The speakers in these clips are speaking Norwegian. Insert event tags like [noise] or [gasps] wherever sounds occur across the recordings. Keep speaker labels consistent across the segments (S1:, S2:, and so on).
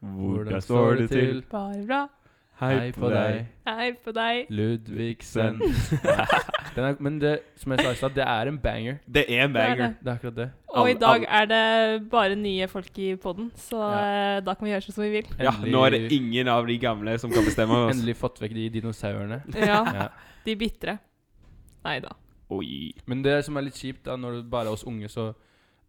S1: Hvordan står det til?
S2: Bare bra.
S1: Hei på deg,
S2: Hei på [laughs] deg.
S1: Ludvigsen.
S3: Ludvigsen.
S1: Den er, men det, som jeg sa i stad, det er en banger.
S3: Det er en
S2: Det er
S3: banger.
S2: det.
S1: Det er akkurat det.
S2: Og i
S3: Alle-
S2: dag
S3: alle-
S2: er det bare nye folk i poden, så eh, da kan vi gjøre sånn som vi vil.
S3: Ja, nå er det ingen av de gamle som kan bestemme altså. oss.
S1: endelig fått vekk de dinosaurene.
S2: Ja,
S1: Ja.
S2: De bitre. Nei da.
S3: Oi.
S1: Men det som er litt kjipt, da, når det bare er oss unge, så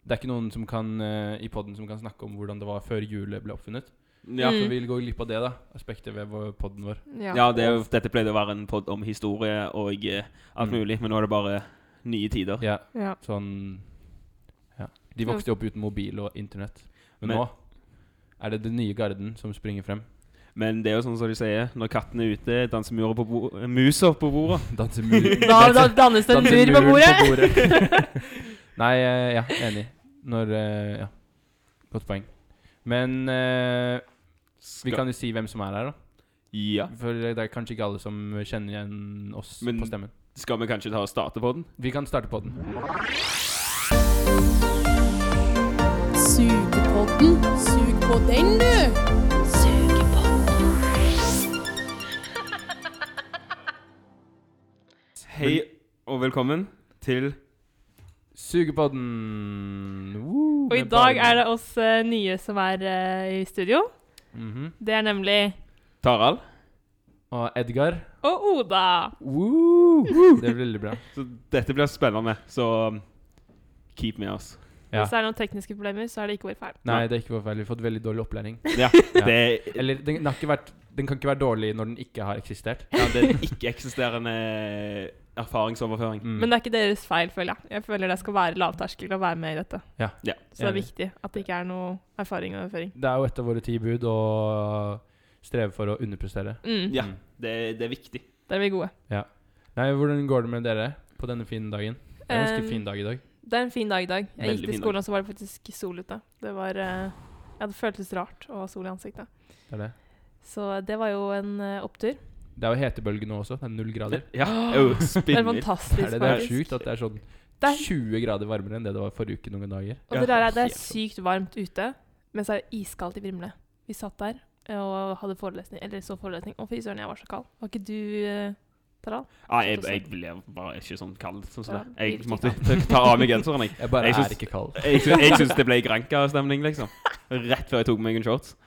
S1: det er ikke noen som kan, eh, i podden som kan snakke om hvordan det var før hjulet ble oppfunnet.
S3: Ja,
S2: Mm.
S1: Så vi går glipp av det, da. Aspektet ved vår- podden vår.
S2: Ja.
S3: ja det er, jo- dette pleide å være en pod om historie og eh, alt
S1: Mm.
S3: mulig, men nå er det bare nye tider.
S1: Ja,
S2: Ja.
S1: sånn Ja. De vokste jo opp uten mobil og internett. Men,
S3: Men-
S1: nå er det den nye garden som springer frem. [laughs]
S3: Men det er jo sånn som de sier, når katten er ute, danser murer på bo muser på bordet. [laughs]
S1: Danse mur
S2: Da, da dannes det en
S1: danse
S2: mur på
S1: muren
S2: bordet.
S1: bordet. [laughs] Nei, eh, ja, enig. Når eh, Ja. Godt poeng. Men eh, vi
S3: Skal-
S1: kan jo si hvem som er her, da.
S3: Ja.
S1: For det er kanskje ikke alle som kjenner igjen oss
S3: Men-
S1: på stemmen.
S3: Skal vi kanskje ta og starte på den?
S1: Vi kan starte på den.
S4: Sugepodden. Sug på den, du!
S3: Hei og velkommen til
S1: Sugepodden! Woo,
S2: Og i
S1: med
S2: dag
S1: barn.
S2: er det oss eh, nye som er eh, i studio.
S1: Mhm.
S2: Det er nemlig
S3: Tarald.
S1: Og Edgar.
S2: og Oda.
S1: Woo! Det blir
S2: [laughs]
S1: veldig bra.
S3: Så dette blir spennende, så um, keep med oss.
S1: Ja.
S2: Hvis det er noen tekniske problemer, så er det ikke vår feil.
S1: Nei, det er ikke vår feil. Vi har fått veldig dårlig opplæring. [laughs]
S3: Ja, det er
S1: Eller den, den, har ikke vært, den kan ikke være dårlig når den ikke har eksistert.
S3: ja, det er en ikke-eksisterende erfaringsoverføring.
S1: Mm.
S2: Men det er ikke deres feil, føler jeg. Jeg føler det skal være lavterskel å være med i dette.
S1: Ja.
S3: Ja.
S2: Så det er
S1: Enig.
S2: viktig at det ikke er noe erfaring og overføring.
S1: det er jo et av våre ti bud å streve for å underprestere.
S2: Mm,
S3: Ja,
S1: Mm.
S3: det, det er viktig.
S2: Der er vi gode.
S1: Nei, hvordan går det med dere på denne fine dagen? Det er en ganske
S2: Um,
S1: fin dag i dag.
S2: Det er en fin dag i dag. Jeg
S3: Veldig
S2: gikk til
S3: fin
S2: skolen, og så var det faktisk sol ute. Det var eh, Ja, det føltes rart å ha sol i ansiktet.
S1: Det er, det.
S2: Så det var jo en eh, opptur.
S1: Det er jo hetebølge nå også. Det er null grader.
S3: Ja, jo,
S2: Det er
S3: spinner.
S2: fantastisk,
S1: Er det, det er
S2: faktisk.
S1: sjukt at det er sånn
S2: Det er,
S1: 20 grader varmere enn det det var forrige uke noen dager.
S2: og det, der, er- det
S3: helt
S2: er sykt varmt ute, men så er det iskaldt i Vrimle. Vi satt der eh, og hadde forelesning, eller så forelesning. Å, fy søren, jeg var så kald. Var ikke du eh, Taral?
S3: Ja, jeg, jeg ble bare ikke sånn kald. Sånn som det.
S2: Ja,
S3: Jeg
S2: virkelig
S3: måtte ta av meg genseren. Jeg,
S1: Jeg bare
S3: Jeg syns-
S1: er ikke kald.
S3: jeg, syns- jeg syns det ble Granca-stemning, liksom. Rett før jeg tok meg en shorts.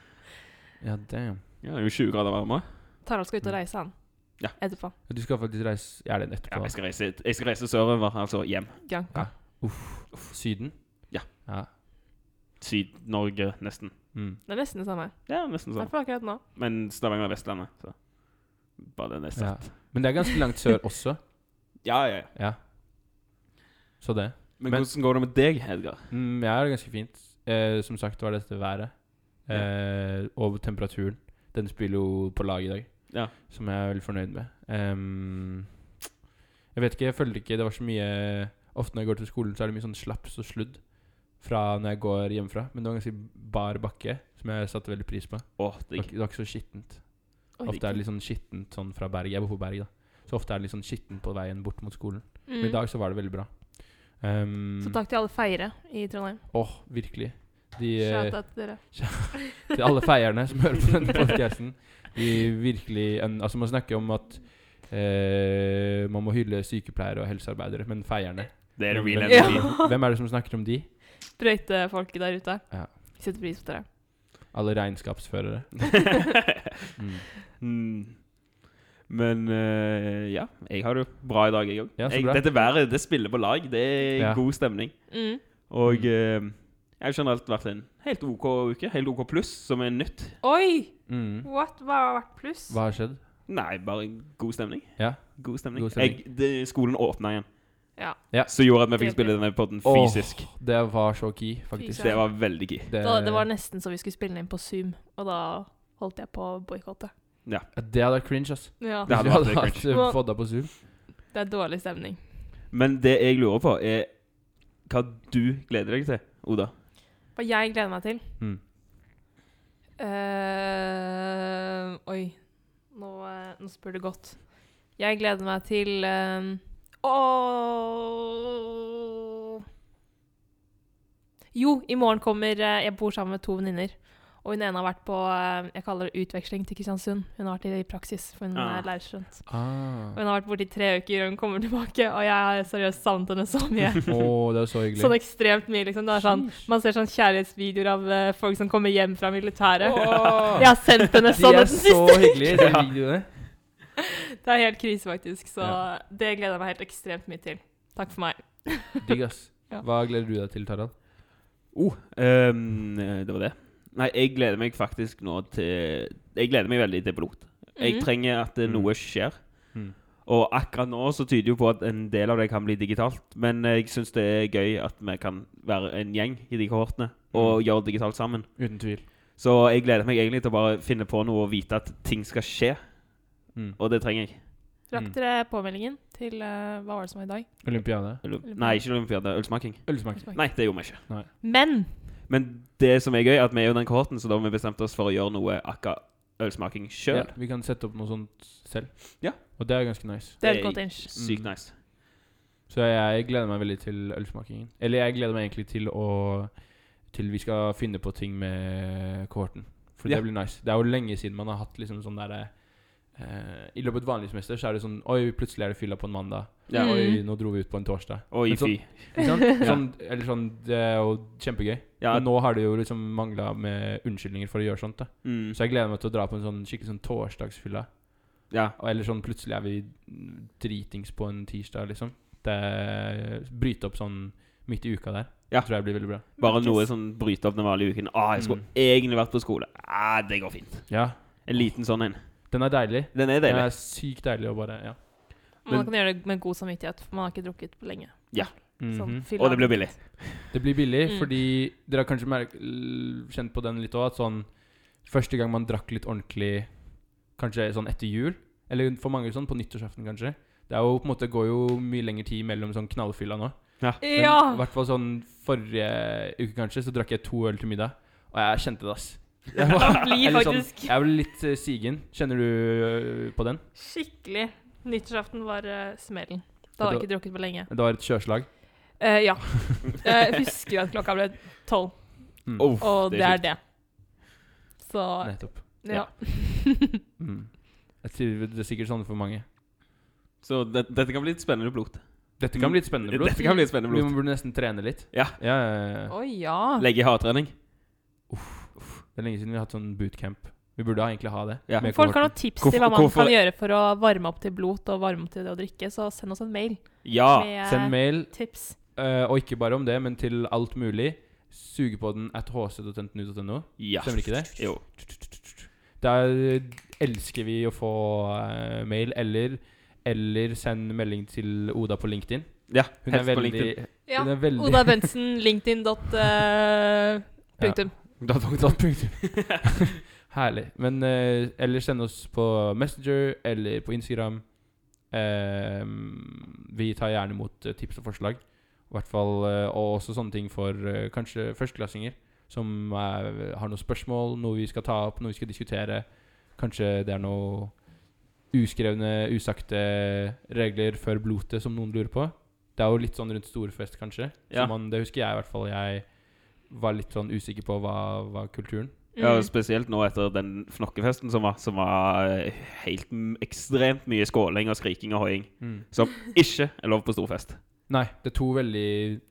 S1: Ja, damn.
S3: Ja, det er jo 20 grader varmere.
S2: Taral skal ut og reise, han.
S3: Mm. Ja.
S2: Etterpå.
S1: Du skal faktisk reise Er det en
S3: Ja,
S1: etterpå?
S3: jeg skal reise, jeg skal reise sørover, altså hjem.
S2: Granka.
S1: Syden?
S3: Ja.
S1: ja.
S3: Syd-Norge, nesten.
S1: Mm.
S2: Det er nesten det samme.
S3: Ja, nesten
S2: I
S3: sånn.
S2: hvert fall akkurat nå.
S3: Men Stavanger er Vestlandet, så bare det neste.
S1: Ja. Men det er ganske langt sør også. [laughs]
S3: Ja, ja, ja.
S1: Ja. Så det.
S3: Men,
S1: Men-
S3: hvordan går det med deg, Edgar?
S1: Mm, jeg har det ganske fint. Eh, som sagt var dette været. Eh, og temperaturen. Den spiller jo på lag i dag.
S3: Ja.
S1: Som jeg er veldig fornøyd med. Ehm, jeg vet ikke, jeg følte ikke det var så mye Ofte når jeg går til skolen, så er det mye sånn slaps og sludd fra når jeg går hjemmefra. Men det var en ganske bar bakke, som jeg satte veldig pris på. Det
S3: Å,
S1: var,
S3: digg.
S1: ikke- det var ikke så skittent.
S2: Oi.
S1: Ofte er det litt sånn skittent sånn fra Berg. Jeg bor på Berg, da. Så ofte er det litt sånn skittent på veien bort mot skolen. Men i
S2: Mm.
S1: dag så var det veldig bra. Ehm,
S2: Så takk til alle feire i Trondheim.
S1: Åh, virkelig. De, eh,
S2: Shout-out til dere.
S1: til alle feierne som hører på
S2: [laughs]
S1: denne podcasten. De virkelig en, Altså, man snakker om at eh, man må hylle sykepleiere og helsearbeidere, men feierne
S3: Det er det
S1: hvem,
S3: real
S2: Ja.
S3: energy.
S1: hvem- hvem er det som snakker om de?
S2: Brøytefolket der ute.
S1: Ja.
S2: Vi setter pris på dere.
S1: Alle regnskapsførere.
S3: [laughs]
S1: Mm.
S3: Mm. Men eh, ja, jeg har det jo bra i dag, jeg òg.
S1: Ja, så bra.
S3: dette været det spiller på lag. Det er
S1: Ja.
S3: god stemning.
S2: Mm.
S3: Og
S1: Mm.
S3: eh, jeg har generelt vært en helt OK uke. Helt OK pluss, som er nytt.
S2: Oi!
S1: Mm.
S2: What? Hva har vært pluss?
S1: Hva har skjedd?
S3: Nei, bare god stemning.
S1: Ja.
S3: God stemning.
S1: God stemning.
S3: Jeg, det, skolen åpna igjen,
S2: Ja.
S1: Ja.
S3: så gjorde at vi fikk spille denne podden fysisk.
S1: Åh, det var så key, faktisk.
S2: Fysisk.
S3: Det var veldig gøy.
S1: Det,
S2: Da, det var nesten så vi skulle spille den inn på Zoom, og da holdt jeg på å boikotte.
S1: det hadde vært cringe, ass.
S2: Ja.
S1: Hvis
S3: Det hadde
S1: vi
S3: vært
S1: hadde
S3: litt
S1: hatt eh, fått det på Zoom.
S2: Det er dårlig stemning.
S3: Men det jeg lurer på, er hva du gleder deg til, Oda.
S2: Hva jeg gleder meg til
S1: Mm.
S2: Eh, Oi. Nå, eh, nå spør du godt. Jeg gleder meg til eh, Åh Jo, i morgen kommer eh, Jeg bor sammen med to venninner. Og hun ene har vært på eh, jeg kaller det utveksling til Kristiansund. Hun har vært i praksis, for hun
S3: Ah.
S2: er lærerstudent. Og
S1: Ah.
S2: Hun har vært borte i tre uker, og hun kommer tilbake, og jeg har seriøst savnet henne så mye.
S1: Å, det er så hyggelig.
S2: Sånn ekstremt mye, liksom. Det er sånn, man ser sånn kjærlighetsvideoer av eh, folk som kommer hjem fra [laughs] militæret.
S1: Åh!
S2: Jeg har sendt henne
S1: De
S2: sånn [laughs]
S1: er
S2: den
S1: så
S2: siste.
S1: [laughs] hyggelige, de videoene.
S2: Det er helt krise, faktisk. Så
S1: Ja.
S2: det gleder jeg meg helt ekstremt mye til. Takk for meg.
S1: Digg, ass.
S2: Ja.
S1: Hva gleder du deg til, Tarald?
S3: Oh, ehm, det var det. Nei, jeg gleder meg faktisk nå til Jeg gleder meg veldig til pilot. Jeg
S2: Mhm.
S3: trenger at eh,
S1: Mm.
S3: noe skjer.
S1: Mm.
S3: Og akkurat nå så tyder jo på at en del av det kan bli digitalt. Men eh, jeg syns det er gøy at vi kan være en gjeng i de kohortene og
S1: Mm.
S3: gjøre digitalt sammen.
S1: Uten tvil.
S3: Så jeg gleder meg egentlig til å bare finne på noe og vite at ting skal skje.
S1: Mm.
S3: Og det trenger jeg.
S2: Rakk
S1: Mm.
S2: dere påmeldingen til eh, Hva var det som var i dag?
S1: Olympiade.
S3: Øl- Nei, ikke olympiade. Ølsmaking.
S1: Ølsmak.
S3: Nei, det gjorde vi ikke.
S2: Men
S3: Men det som er gøy, er at vi er jo den kohorten, så da har vi bestemt oss for å gjøre noe akkurat ølsmaking sjøl.
S1: Ja, Mm. vi kan sette opp noe sånt selv.
S3: Ja.
S1: Og det er ganske nice.
S2: det er et
S3: Det er-
S2: godt inch.
S3: Sykt
S1: Mm.
S3: nice.
S1: Så jeg gleder meg veldig til ølsmakingen. Eller jeg gleder meg egentlig til å Til vi skal finne på ting med kohorten. For
S3: Ja.
S1: det blir nice. Det er jo lenge siden man har hatt liksom sånn derre eh, I løpet av et vanlig semester så er det sånn Oi, plutselig er det fylla på en mandag.
S3: Ja.
S2: Mm.
S1: Oi, nå dro vi ut på en torsdag.
S3: Oi,
S1: Men
S3: fy.
S1: sånn- Ikke sant?
S3: [laughs]
S1: Sånn, eller sånn Det er jo kjempegøy.
S3: Ja,
S1: Men nå har det jo liksom mangla med unnskyldninger for å gjøre sånt. da
S3: mm,
S1: Så jeg gleder meg til å dra på en sånn skikkelig sånn torsdagsfylla.
S3: ja.
S1: Og- Eller sånn plutselig er vi dritings på en tirsdag, liksom. Det Bryte opp sånn midt i uka der.
S3: Ja.
S1: Tror jeg blir veldig bra.
S3: Bare
S2: Merkes.
S3: noe som bryter opp den vanlige uken. Ah, jeg skulle
S1: Mm.
S3: egentlig vært på skole. Ah, det går fint.
S1: Ja.
S3: En liten sånn en.
S1: Den er deilig.
S3: Den er
S1: Den
S3: deilig.
S1: er sykt deilig å bare Ja.
S2: Man
S3: Men-
S2: kan gjøre det med god samvittighet, for man har ikke drukket på lenge. Sånn,
S1: Mhm.
S2: fylla.
S3: Og det blir billig.
S1: Det blir billig,
S2: Mm.
S1: fordi dere har kanskje merk l- kjent på den litt òg, at sånn Første gang man drakk litt ordentlig, kanskje sånn etter jul, eller for mange sånn på nyttårsaften, kanskje Det er jo på en måte går jo mye lengre tid mellom sånn knallfylla nå. Men
S2: Ja!
S1: I [laughs] hvert fall sånn forrige uke, kanskje, så drakk jeg to øl til middag. Og jeg kjente det, ass. Jeg
S2: Man blir
S1: eller
S2: faktisk-
S1: Sånn, jeg ble litt eh, sigen. Kjenner du ø, på den?
S2: Skikkelig. Nyttårsaften var eh, smellen. Da hadde jeg ikke drukket på lenge.
S1: Det var et kjørslag.
S2: Eh,
S1: [laughs]
S2: ja. Eh, Jeg husker at klokka ble tolv,
S1: Mm.
S3: Oh,
S2: og det er det. Så
S1: Nettopp.
S2: ja.
S1: Mm. Jeg tror det er sikkert sånn for mange.
S3: Så det, dette kan bli litt spennende blod.
S1: Dette kan bli litt spennende, bror.
S3: Mm. Dette kan bli litt spennende
S1: Vi
S3: blod.
S1: må- burde nesten trene litt.
S3: Ja.
S1: ja,
S2: [laughs]
S1: ja, ja.
S2: Å ja.
S3: Legge i hardtrening.
S1: Det er lenge siden vi har hatt sånn bootcamp. Vi burde egentlig ha det.
S3: Ja.
S1: med
S2: Folk har
S1: kohorten.
S2: noen tips
S3: Hvorfor-
S2: til hva man
S3: hvorfor-
S2: kan gjøre for å varme opp til blot og varme opp til det å drikke, så send oss en mail
S3: Ja.
S2: med eh,
S1: Send mail,
S2: tips.
S1: ø, og ikke bare om det, men til alt mulig. Sugepodden at hc.nu.no.
S3: ja.
S1: Stemmer ikke det?
S3: Jo.
S1: Der elsker vi å få eh, mail, eller, eller send melding til Oda på LinkedIn.
S3: Ja.
S1: Hun er
S3: Helst på
S1: veldig,
S3: LinkedIn.
S2: Ja.
S1: Hun er veldig
S2: Oda Bentsen, linkedin. dot, eh, punktum.
S1: Da tok det opp, punktum. [laughs] Herlig. Men eh, eller send oss på Messenger eller på Instagram. Eh, vi tar gjerne imot eh, tips og forslag. I hvert fall, eh, og også sånne ting for eh, kanskje førsteklassinger som eh, har noen spørsmål, noe vi skal ta opp, noe vi skal diskutere. Kanskje det er noe uskrevne, usagte regler før blotet som noen lurer på. Det er jo litt sånn rundt storfest, kanskje.
S3: Ja.
S1: Så man, det husker jeg i hvert fall. Jeg var litt sånn usikker på hva var kulturen.
S3: Ja,
S2: Mm.
S3: spesielt nå etter den fnokkefesten som var, som var eh, helt m- ekstremt mye skåling og skriking og hoiing. Som ikke er lov på storfest.
S1: Nei, det er to veldig,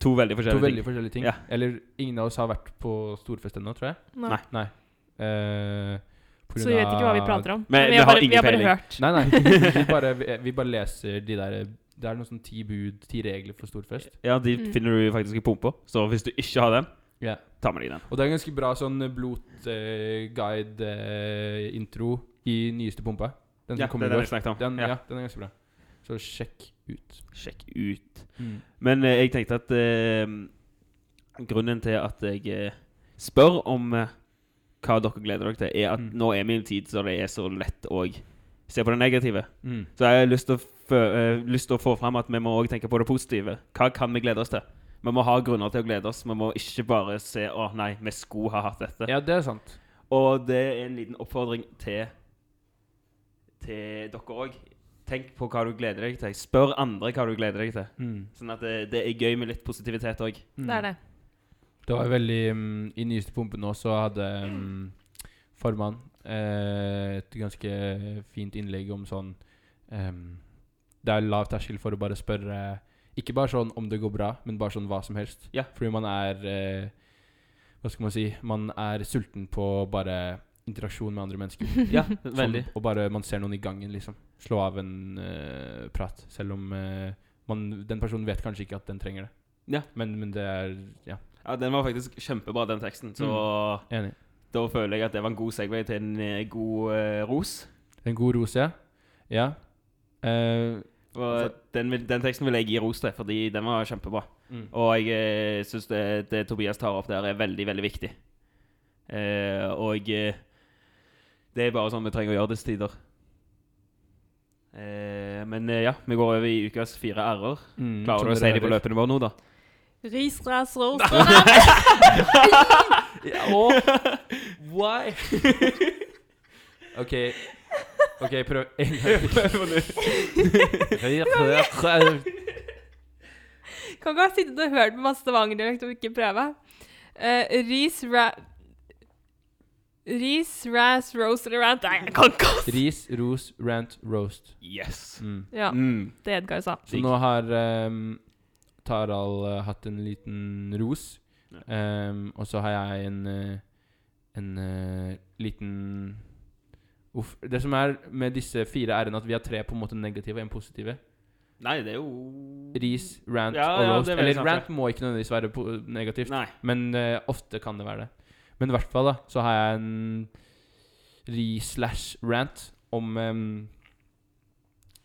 S3: To veldig
S1: to
S3: forskjellige
S1: veldig
S3: ting.
S1: forskjellige ting.
S3: Ja.
S1: Eller ingen av oss har vært på storfest ennå, tror jeg.
S2: Mm. Nei.
S3: Nei.
S1: Eh, på
S2: Så
S1: grunn
S2: vi vet ikke hva vi
S1: av-
S2: prater om.
S3: Men
S2: Men
S3: vi
S2: vi har
S3: har
S2: bare,
S3: ingen
S2: vi har bare
S3: peiling.
S2: hørt.
S1: Nei,
S3: [laughs]
S1: nei. Vi bare, vi, vi bare leser de der Det er noen sånn ti bud, ti regler for storfest.
S3: Ja, de
S2: Mm.
S3: finner du faktisk i pumpa. Så hvis du ikke har den,
S1: Ja.
S3: ta med deg den.
S1: Og det er en ganske bra sånn blodguide-intro i nyeste pumpa. Den som
S3: Ja, det
S1: kommer i
S3: er den jeg
S1: går.
S3: snakket om.
S1: Den,
S3: ja.
S1: ja. den er ganske bra. Så sjekk ut. Mm.
S3: Sjekk ut. Men eh, jeg tenkte at eh, grunnen til at jeg eh, spør om eh, hva dere gleder dere til, er at
S1: Mm.
S3: nå er vi i en tid så det er så lett å se på det negative.
S1: Mm.
S3: Så jeg har lyst til å, fø, eh, lyst til å få fram at vi må også tenke på det positive. Hva kan vi glede oss til? Vi må ha grunner til å glede oss. Vi må ikke bare se å nei, vi skulle ha hatt dette.
S1: Ja, det er sant.
S3: Og det er en liten oppfordring til, til dere òg. Tenk på hva du gleder deg til. Spør andre hva du gleder deg til. Sånn at det, det er gøy med litt positivitet òg.
S2: Det er det.
S1: Det var veldig mm, I nyeste pumpe nå så hadde mm, formann, eh, et ganske fint innlegg om sånn ehm, Det er lav terskel for å bare spørre Ikke bare sånn om det går bra, men bare sånn hva som helst.
S3: Ja.
S1: Fordi man er eh, Hva skal man si Man er sulten på bare interaksjon med andre mennesker.
S2: [laughs]
S3: Ja, [laughs] veldig.
S1: Sånn, og bare man ser noen i gangen, liksom. Slå av en eh, prat. Selv om eh, man, den personen vet kanskje ikke at den trenger det.
S3: Ja.
S1: Men, men det er Ja,
S3: Ja, den var faktisk kjempebra, den teksten. Så
S1: enig.
S3: da føler jeg at det var en god segway til en eh, god eh, ros.
S1: En god ros, ja. Ja. Eh,
S3: Og den, vil- den teksten vil jeg gi ros til, fordi den var kjempebra.
S1: mm.
S3: Og jeg syns det, det Tobias tar opp der, er veldig, veldig viktig. Eh, og eh, det er bare sånn vi trenger å gjøre disse tider. Eh, men eh, ja, vi går over i ukas fire r-er.
S1: Mm, som
S3: Klarer du å
S1: dere
S3: si de på
S1: hører.
S3: løpende bånd nå, da?
S2: Ris, ras, ros.
S3: [laughs] Why?
S1: OK. Ok, prøv en [laughs] gang til.
S3: Prøv nå.
S2: Kan ikke ha sittet og hørt på masse stavangerdialekt og ikke prøve. Eh, ris, ra... Ris, ras, ros eller rant. Nei, jeg kan ikke! ass.
S1: Ris, ros, rant, roast.
S3: Yes.
S1: Mm.
S2: Ja,
S3: Mm.
S2: det Edgar sa.
S1: Så nå har um, Taral eh, hatt en liten ros.
S3: Ja.
S1: Ehm, og så har jeg en eh, En eh, liten Uff. Det som er med disse fire r-ene, at vi har tre på en måte negative og en positive.
S3: Nei, det er jo
S1: Ris, rant
S3: Ja,
S1: og
S3: ja,
S1: roast.
S3: det vet jeg
S1: Eller
S3: sant,
S1: rant må ikke nødvendigvis være po negativt.
S3: Nei.
S1: Men eh, ofte kan det være det. Men i hvert fall da, så har jeg en re-slash-rant om em,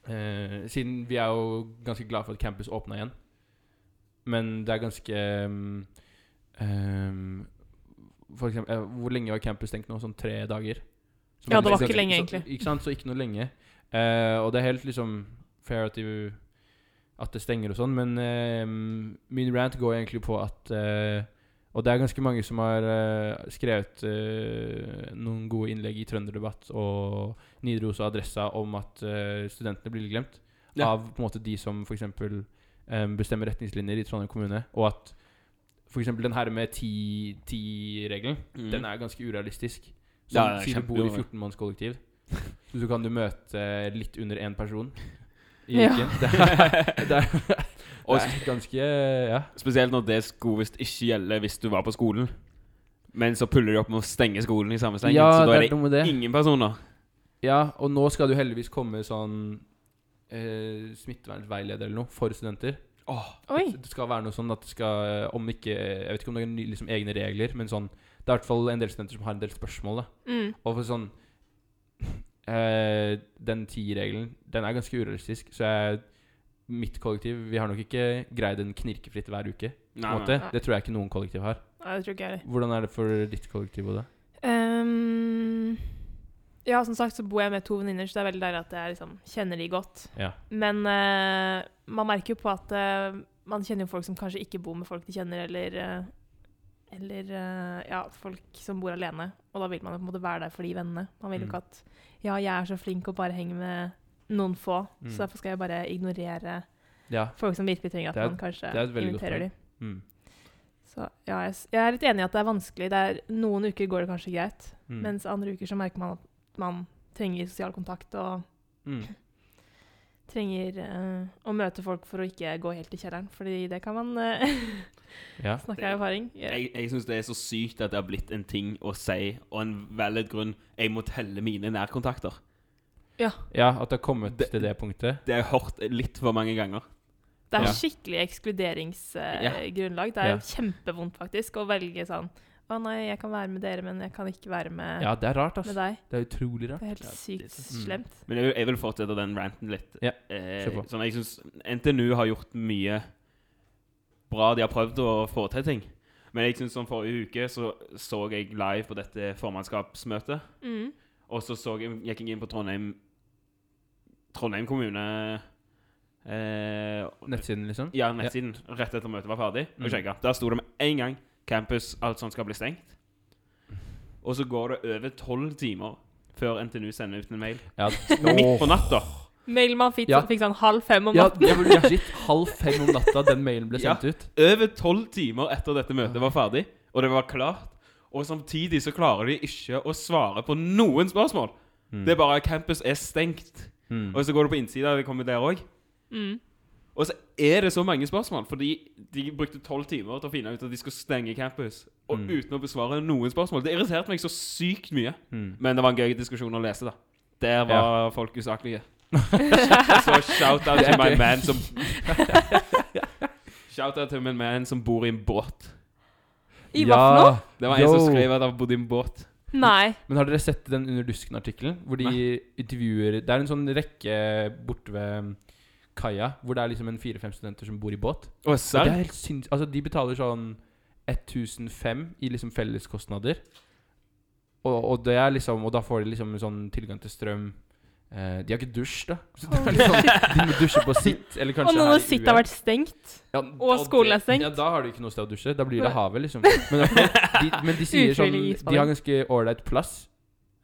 S1: eh, Siden vi er jo ganske glad for at campus åpna igjen. Men det er ganske em, em, For eksempel, eh, hvor lenge var campus stengt nå? Sånn tre dager? Så
S2: Ja,
S1: man-
S2: det var ikke
S1: ganske-
S2: lenge,
S1: så-
S2: egentlig.
S1: Ikke sant, så ikke noe lenge. Eh, og det er helt liksom fair at du at det stenger og sånn, men eh, min rant går egentlig på at eh, Og det er ganske mange som har eh, skrevet eh, noen gode innlegg i Trønderdebatt og Nidaros og Adressa om at eh, studentene blir litt glemt
S3: Ja.
S1: av på en måte de som f.eks. Um, bestemmer retningslinjer i Trondheim kommune, og at f.eks. den her med 10-regelen,
S3: Mm.
S1: den er ganske urealistisk. Så
S3: Ja, ja,
S1: siden du bor i
S3: kjempeureg-
S1: 14-mannskollektiv, så du kan du møte litt under én person i
S2: Ja.
S3: [laughs]
S1: uken. Det er, det er,
S3: Og
S1: det er ganske Ja.
S3: Spesielt når det skulle visst ikke gjelde hvis du var på skolen. Men så puller de opp med å stenge skolen i samme slengen. så da er det
S1: noe med det.
S3: ingen personer.
S1: Ja, og nå skal det jo heldigvis komme sånn eh, smittevernveileder eller noe for studenter.
S2: Oi.
S1: Det skal være noe sånn at det skal Om ikke Jeg vet ikke om det er ny- liksom, egne regler, men sånn Det er i hvert fall en del studenter som har en del spørsmål, da.
S2: Mm.
S1: Og for sånn [laughs] eh, Den ti-regelen, den er ganske urealistisk. Så jeg, mitt kollektiv Vi har nok ikke greid en knirkefritt hver uke. På en måte.
S2: nei.
S1: Det tror jeg ikke noen kollektiv har.
S2: Nei, det tror ikke jeg heller.
S1: Hvordan er det for ditt kollektiv? Oda?
S2: Ehm, ja, som sagt så bor jeg med to venninner, så det er veldig deilig at jeg liksom kjenner de godt.
S1: Ja.
S2: Men eh, man merker jo på at eh, man kjenner jo folk som kanskje ikke bor med folk de kjenner, eller eh, eller eh, ja, folk som bor alene. Og da vil man jo på en måte være der for de vennene. Man vil jo
S1: Mm.
S2: ikke at Ja, jeg er så flink og bare henger med noen få,
S1: Mm.
S2: så derfor skal jeg bare ignorere
S1: Ja.
S2: folk som virkelig trenger at
S1: Det er-
S2: man kanskje
S1: det er et veldig godt
S2: inviterer
S1: poeng.
S2: dem.
S1: Mm.
S2: Så ja, jeg, s- jeg er litt enig i at det er vanskelig. Det er, noen uker går det kanskje greit,
S1: Mm.
S2: mens andre uker så merker man at man trenger sosial kontakt og
S1: mm.
S2: trenger eh, å møte folk for å ikke gå helt i kjelleren, fordi det kan man eh, [laughs]
S1: Ja.
S2: snakke av erfaring.
S3: Jeg, jeg syns det er så sykt at det har blitt en ting å si, og en valid grunn. Jeg må telle mine nærkontakter.
S1: ja, at det har kommet
S3: Det-
S1: til det punktet.
S3: Det har jeg hørt litt for mange ganger.
S2: Det er
S1: Ja.
S2: skikkelig
S3: Ja.
S2: ekskluderingsgrunnlag. det er
S1: Ja.
S2: kjempevondt faktisk å velge sånn Å nei, jeg kan være med dere, men jeg kan ikke være med,
S1: Ja, det er rart, ass.
S2: med deg.
S1: Det er utrolig
S2: Det
S1: rart.
S2: er helt
S3: Ja,
S2: sykt
S1: litt. Mm.
S2: slemt.
S3: Men jeg vil, jeg vil fortsette den ranten litt.
S1: Ja,
S3: Eh,
S1: kjør på.
S3: sånn, jeg synes NTNU har gjort mye bra. De har prøvd å få til ting. Men jeg synes sånn forrige uke så, så jeg live på dette formannskapsmøtet.
S2: Mm.
S3: Og så, så jeg, gikk jeg inn på Trondheim Trondheim kommune eh,
S1: Nettsiden, liksom.
S3: Ja, nettsiden. Rett etter møtet var ferdig. Og
S1: Mm.
S3: sjekket. Der sto det med en gang campus, alt sånt skal bli stengt. Og så går det over tolv timer før NTNU sender ut en mail.
S1: Ja,
S3: Midt på natta.
S2: Mailman fikk,
S1: Ja.
S2: fikk sånn halv fem om
S1: ja,
S2: natten.
S1: det var legit halv fem om natta den mailen ble
S3: Ja.
S1: sendt ut.
S3: Over tolv timer etter dette møtet var ferdig, og det var klart. og samtidig så klarer de ikke å svare på noen spørsmål. Det er bare campus er stengt.
S1: Mm.
S3: Og så går du på innsida, og det kommer der òg.
S2: [laughs] Mm.
S3: Og så er det så mange spørsmål, fordi de brukte tolv timer til å finne ut at de skulle stenge campus. Og
S1: Mm.
S3: uten å besvare noen spørsmål. Det irriterte meg så sykt mye.
S1: Mm.
S3: Men det var en gøy diskusjon å lese, da. Der var
S1: Ja.
S3: folk usaklige. så shout out til my man som Shout out til min man som bor i en båt.
S2: I hva for noe?
S3: Det var en som
S1: Yo.
S3: skrev at han bodde i en båt.
S2: Nei.
S1: Men har dere sett den Under dusken-artikkelen? Hvor de intervjuer Det er en sånn rekke borte ved um, kaia hvor det er liksom en fire-fem studenter som bor i båt.
S3: Å,
S1: Og det
S3: serr?
S1: er helt syns... Altså, de betaler sånn 1005 i liksom felleskostnader. Og, og det er liksom Og da får de liksom sånn tilgang til strøm. Eh, de har ikke dusj, da. Så det er litt sånn,
S3: [laughs]
S1: de må dusje på sitt. Eller
S2: Og
S1: kanskje
S2: nå
S1: her i
S2: når sitt har
S1: UiA.
S2: vært stengt.
S1: Ja,
S2: Og skolen er
S1: det-
S2: stengt.
S1: Ja, da har du ikke noe sted å dusje. Da blir
S2: Nei.
S1: det havet, liksom. Men, de, men de sier sånn
S2: Ufrivillig isbading.
S1: De har ganske ålreit plass.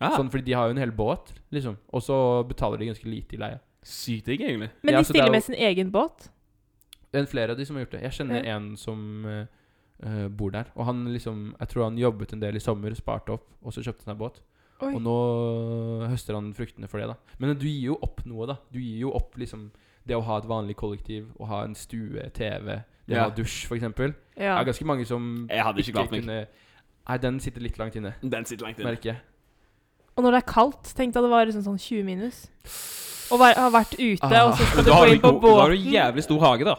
S3: Ah.
S1: Sånn, fordi de har jo en hel båt, liksom. Og så betaler de ganske lite i leie.
S3: Sykt digg, egentlig.
S2: Men
S1: Ja,
S2: de
S1: så det er
S2: stiller
S1: jo-
S2: med sin egen båt.
S1: Det er flere av de som har gjort det. Jeg kjenner
S2: Ja.
S1: en som eh, eh, bor der. Og han liksom Jeg tror han jobbet en del i sommer, sparte opp, og så kjøpte han seg båt.
S2: Oi.
S1: Og nå høster han fruktene for det, da. Men du gir jo opp noe, da. Du gir jo opp liksom det å ha et vanlig kollektiv, å ha en stue, TV, det
S3: Ja.
S1: å ha dusj, for eksempel.
S2: Ja.
S1: Det er ganske mange som
S3: Jeg hadde ikke klart meg.
S1: kunne- Nei, den sitter litt langt inne,
S3: Den sitter langt inne.
S1: merker jeg.
S2: Og når det er kaldt, tenkte jeg det var liksom sånn 20 minus. Og væ- har vært ute,
S1: Ah,
S2: og så skal
S3: Men
S2: du
S3: da
S2: gå
S3: har du,
S2: inn på
S3: god- da har du
S2: båten.
S3: jævlig stor hage, da.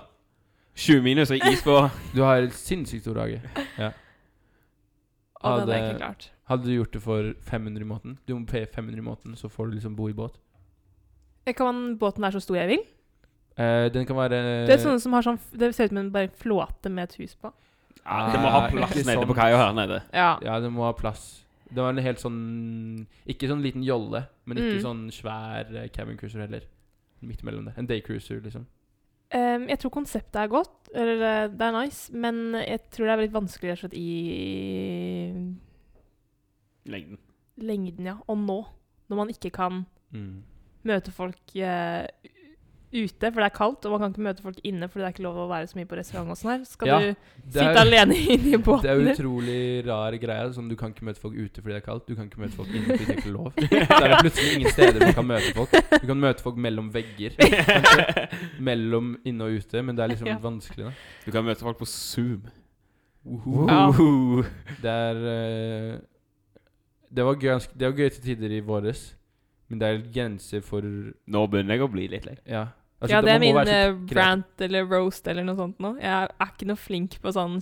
S3: 20 minus og is på
S1: Du har sinnssykt stor
S2: [laughs]
S1: hage.
S2: Å, den er
S1: Hadde-
S2: ikke klart.
S1: Hadde du gjort det for 500 i måneden Du må paye 500 i måneden, så får du liksom bo i båt.
S2: Jeg Kan båten være så stor jeg vil?
S1: Eh, den kan være
S2: Du vet sånne som har sånn Det ser ut som en bare flåte med et hus på.
S3: ja, Det må ha plass
S1: Ikke
S3: nede
S1: sånn.
S3: på kaia her nede.
S2: Ja.
S1: Ja, den må ha plass. Det var en helt sånn Ikke sånn liten jolle, men ikke
S2: Mm.
S1: sånn svær eh, cabin cruiser heller. Midt mellom det. En day cruiser, liksom.
S2: Ehm, jeg tror konseptet er godt, eller eh, det er nice, men jeg tror det er litt vanskelig rett og slett i
S3: Lengden.
S2: lengden, ja. Og nå, når man ikke kan
S1: Mm.
S2: møte folk eh, ute, for det er kaldt, og man kan ikke møte folk inne fordi det er ikke lov å være så mye på restaurant og sånn her. Skal
S1: Ja,
S2: du
S1: Det
S2: sitte
S1: er-
S2: alene [laughs] inne i
S1: Det er
S2: båten din?
S1: utrolig rar greie. Sånn, du kan ikke møte folk ute fordi det er kaldt. Du kan ikke
S2: [laughs]
S1: møte folk inne fordi det er ikke lov. Så er det plutselig ingen steder du kan møte folk. Du kan møte folk mellom vegger. kanskje. Mellom inne og ute, men det er liksom
S2: Ja.
S1: vanskelig. Da. Uhuh.
S3: Du kan møte folk på Zoom.
S2: Ja.
S3: Uhuhu.
S1: Det er eh, Det var gøy, det var gøy til tider i våres, men det er grenser for
S3: Nå begynner jeg å bli litt lei.
S1: Ja. Altså,
S2: ja,
S1: da
S2: det er
S1: må man være
S2: min
S1: så-
S2: eh,
S1: kreativ.
S2: rant eller roast eller noe sånt nå. Jeg er ikke noe flink på sånn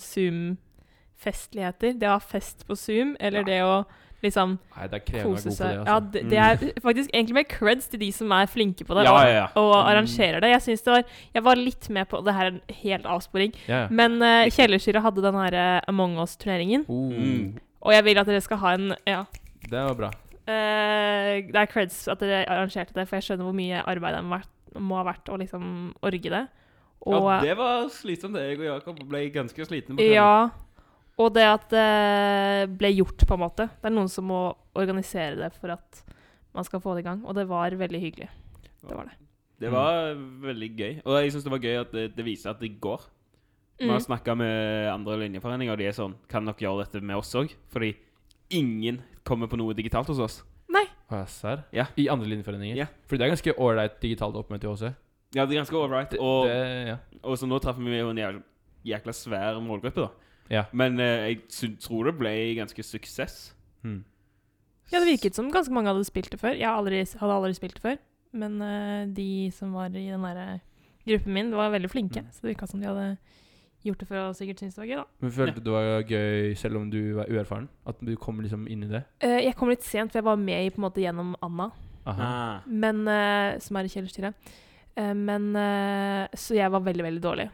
S2: Zoom-festligheter. Det å ha fest på Zoom, eller det å liksom
S1: Nei, det er krevende å være
S2: kose
S1: god på det.
S2: seg. Ja,
S1: Altså.
S2: det, det
S1: [laughs]
S2: er faktisk egentlig mer creds til de som er flinke på det.
S3: Ja,
S2: og-
S3: ja, Mm. ja.
S2: Og arrangerer det. Jeg synes det var Jeg var litt med på Det her er en helt avsporing.
S1: Ja, ja.
S2: Men uh, Kjellersyre hadde den her eh, Among us-turneringen.
S1: Oh,
S3: Mm.
S2: Og jeg vil at dere skal ha en Ja.
S1: Det var bra.
S2: Eh, det er creds at dere arrangerte det, for jeg skjønner hvor mye arbeid det må ha vært- må ha vært å liksom orge det. Og
S3: ja, det var slitsomt. det. Jeg og Jakob ble ganske slitne. på kvelden.
S2: Ja. Og det at det ble gjort, på en måte. Det er noen som må organisere det for at man skal få det i gang. Og det var veldig hyggelig. Det var det.
S3: Det var veldig gøy. Og jeg syns det var gøy at det, det viser at det går. Vi har
S2: Mm.
S3: snakka med andre linjeforeninger, og de er sånn Kan dere gjøre dette med oss òg? Fordi ingen kommer på noe digitalt hos oss.
S2: Nei.
S1: Å, ja, serr?
S3: Ja.
S1: I andre linjeforeninger?
S3: Ja.
S1: Fordi det er ganske ålreit digitalt oppmøte i HC.
S3: Ja, det er ganske ålreit.
S1: Det,
S3: Og,
S1: det, ja.
S3: og så nå traff vi jo en jævla, jækla svær målgruppe, da.
S1: Ja.
S3: Men eh, jeg syn- tror det ble ganske suksess.
S1: Mm.
S2: Ja, det virket som ganske mange hadde spilt det før. Jeg har aldri, hadde aldri spilt det før. Men eh, de som var i den derre gruppen min, var veldig flinke.
S1: Mm.
S2: Så det virka som de hadde gjort det for og sikkert syntes det var gøy, da.
S1: Men følte du det var gøy selv om du var uerfaren? At du kom liksom inn i det?
S2: Eh, jeg kom litt sent, for jeg var med i på en måte gjennom Anna,
S1: Aha.
S3: Ah.
S2: men, eh, som er i kjellerstyret. Eh, men eh, Så jeg var veldig, veldig dårlig.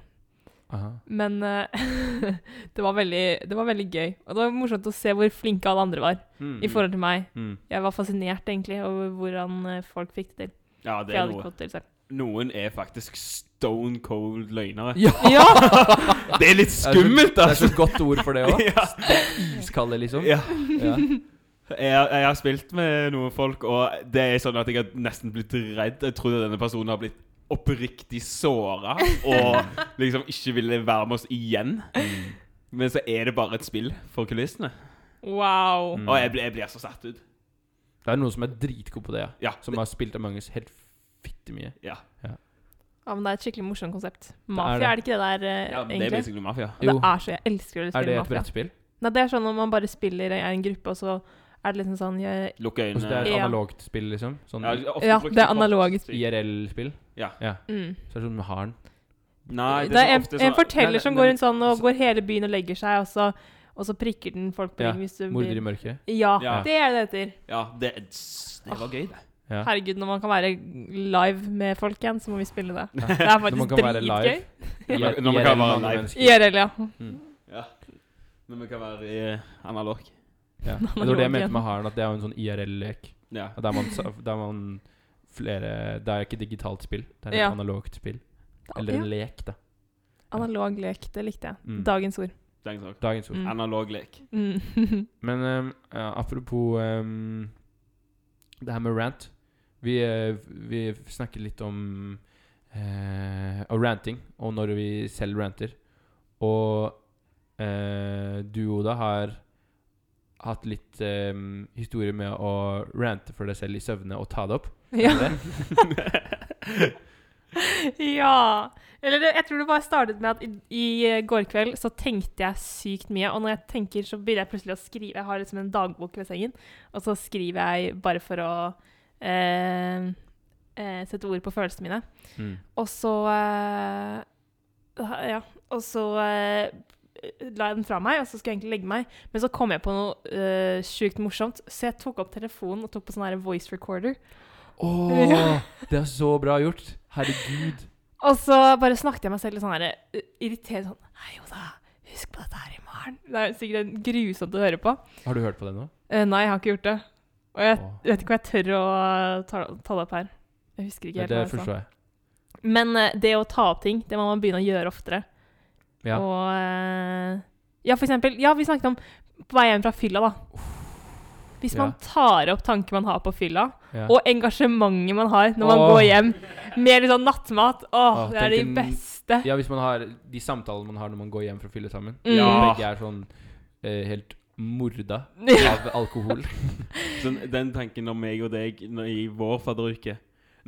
S1: Aha.
S2: Men eh, [laughs] det, var veldig, det var veldig gøy. Og det var morsomt å se hvor flinke alle andre var
S1: Mm.
S3: hmm,
S2: i forhold til meg.
S1: mm.
S2: Jeg var fascinert, egentlig, over hvordan eh, folk fikk det til.
S3: Ja,
S2: For
S3: det
S2: jeg
S3: er
S2: hadde ikke
S3: noe.
S2: fått det til selv.
S3: Noen er faktisk stone cold løgnere. [laughs]
S1: Ja!
S3: Det er litt
S1: Det er så-
S3: skummelt,
S1: Det er
S3: altså!
S1: så godt ord for det òg.
S3: [laughs] Ja.
S1: Iskalde, liksom.
S3: Ja.
S1: Ja.
S3: [laughs] Jeg, jeg har spilt med noen folk, og det er sånn at jeg har nesten blitt redd. Jeg trodde denne personen har blitt oppriktig såra og liksom ikke ville være med oss igjen. Men så er det bare et spill for kulissene.
S2: Wow.
S1: Mm.
S3: Og jeg blir, jeg blir så satt ut.
S1: Det er noen som er dritgod på det, ja.
S3: Ja.
S1: Som har spilt av Magnus helt fitte mye.
S2: Ja, men det er et skikkelig morsomt konsept.
S1: er
S2: Mafia,
S1: det.
S2: er det ikke det der, eh,
S3: ja, men det er
S2: egentlig?
S3: basically mafia.
S2: Og
S1: Jo.
S2: Det er så, Jeg elsker å
S1: Er det
S2: spille
S1: et
S2: mafia.
S1: brettspill?
S2: Nei, det er sånn når man bare spiller i en gruppe, og så er det liksom sånn jeg,
S3: Lukke
S1: Altså, det
S3: øynene.
S1: er et
S2: Ja.
S1: analogt spill, liksom? Sånn
S3: Ja, ofte
S2: Ja,
S3: brukt
S2: det er
S3: kort.
S2: analoge.
S1: IRL-spill?
S2: mm.
S1: Så er det sånn med haren.
S3: Nei, det
S2: det
S3: er
S2: er
S3: så
S2: en,
S3: ofte
S2: en
S3: sånn
S1: Nei,
S2: forteller som
S1: nei,
S2: går
S1: men- altså
S2: rundt sånn og
S1: så-
S2: går hele byen og legger seg, og så, og så prikker den folk på
S1: Ja,
S2: ryggen hvis du
S1: Morder
S2: blir
S1: i mørket.
S2: Ja,
S3: Ja.
S2: det er det det heter.
S3: Ja, det, det var gøy, det.
S1: Ja.
S2: Herregud, når man kan være live med folk igjen, så må vi spille det. Det er
S1: Når man
S2: faktisk
S1: kan være live.
S2: dritgøy. [laughs]
S1: IRL,
S3: Når man kan være
S1: mange
S3: live.
S1: mennesker.
S2: IRL, ja.
S3: Men vi kan være eh, analog.
S1: Ja. Det var det jeg mente med haren, at det er jo en sånn IRL-lek.
S3: Ja.
S1: At Der man, sa- der man flere Det er ikke digitalt spill, det er et
S2: Ja.
S1: analogt spill. Eller
S2: Ja.
S1: en lek, da.
S2: Analog lek, det likte jeg.
S1: Mm.
S2: Dagens ord.
S3: Det er en sak.
S1: Dagens ord.
S2: Mm.
S3: Analog lek.
S2: Mm. [laughs]
S1: Men ehm, ja, apropos ehm, det her med rant Vi, eh, vi snakket litt om, eh, om ranting, og når vi selv ranter. Og eh, du, Oda, har hatt litt ehm, historie med å rante for deg selv i søvne og ta det opp.
S2: ja. [laughs] ja. Eller det, jeg tror det bare startet med at i, i eh, går kveld så tenkte jeg sykt mye. Og når jeg tenker, så begynner jeg plutselig å skrive. Jeg har liksom en dagbok ved sengen, og så skriver jeg bare for å eh, eh, sette ord på følelsene mine. Og så eh, Ja. Og så eh, la jeg den fra meg, og så skulle jeg egentlig legge meg. Men så kom jeg på noe eh, sjukt morsomt, så jeg tok opp telefonen og tok på sånn her voice recorder.
S1: Å,
S2: Ja.
S1: det er så bra gjort! Herregud.
S2: Og så bare snakket jeg meg selv litt sånn her eh, irritert sånn Hei, Oda, husk på dette her i morgen. Det er sikkert grusomt å høre på.
S1: Har du hørt på det nå?
S2: Eh, nei, jeg har ikke gjort det. Og jeg
S1: Åh.
S2: vet ikke om jeg tør å eh, ta, ta det opp her. Jeg husker
S1: Det,
S2: ikke helt hva jeg sa.
S1: forstår jeg.
S2: Men eh, det å ta opp ting, det må man begynne å gjøre oftere.
S1: Ja.
S2: Og eh, Ja, for eksempel Ja, vi snakket om på vei hjem fra fylla, da. Hvis
S1: Ja.
S2: man tar opp tanker man har på fylla,
S1: Ja.
S2: og engasjementet man har når man
S1: Åh.
S2: går hjem med litt sånn nattmat Åh,
S1: Åh,
S2: det er de
S1: tenk en-
S2: beste.
S1: Ja, hvis man har de samtalene man har når man går hjem fra fylle sammen.
S2: Mm.
S3: Ja.
S1: Begge er sånn eh, helt morda [laughs]
S2: Ja.
S1: av alkohol.
S3: Sånn, den tanken om meg og deg når, i vår fadderuke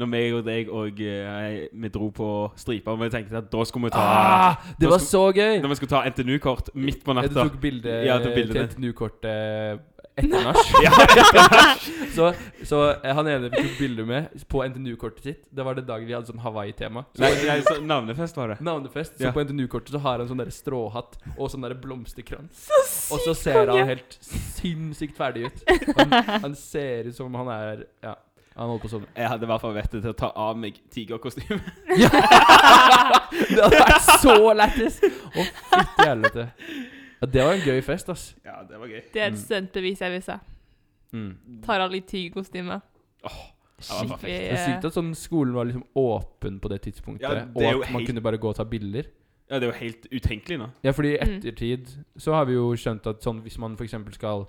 S3: Når meg og deg og eh, vi dro på stripa, og vi tenkte at da skulle vi ta
S1: Ah, det var så gøy!
S3: Når vi skulle ta NTNU-kort midt på
S1: Ja, Du
S3: natta.
S1: tok bilde
S3: Ja, jeg tok bilde
S1: til
S3: til.
S1: et [laughs] NTNU-kortet etter nach.
S3: Ja, ja.
S1: [laughs] Så, så eh, han ene vi tok bilde med på NTNU-kortet sitt, det var den dagen vi hadde sånn Hawaii-tema. Så
S3: Nei,
S1: på
S3: nei,
S1: NTNU
S3: så navnefest var det.
S1: Navnefest. Så
S3: Ja.
S1: på NTNU-kortet så har han sånn der stråhatt og sånn der blomsterkrans.
S2: Så
S1: Og så
S2: sykt
S1: ser
S2: konge!
S1: han helt sinnssykt ferdig ut. [laughs] Han, han ser ut som han er Ja, han holder på sånn.
S3: Jeg hadde i hvert fall vettet til å ta av meg tigerkostymet.
S1: Ja. [laughs] det hadde vært så
S3: [laughs]
S1: lættis! Å, fytti helvete. Ja, det var en gøy fest, ass.
S3: [laughs] Ja, det var gøy.
S2: [laughs] Det er
S1: Mm.
S2: et studentbevis jeg vil se.
S1: Mm.
S2: Tar av litt tygerkostyme.
S3: Ja, det var
S2: Skikkelig
S1: Det er sykt at sånn skolen var liksom åpen på det tidspunktet,
S3: Ja, det
S1: og
S3: er
S1: at
S3: jo
S1: man
S3: helt-
S1: kunne bare gå og ta bilder.
S3: Ja, Det er jo helt utenkelig nå.
S1: Ja, fordi i
S2: Mm.
S1: ettertid så har vi jo skjønt at sånn hvis man f.eks. skal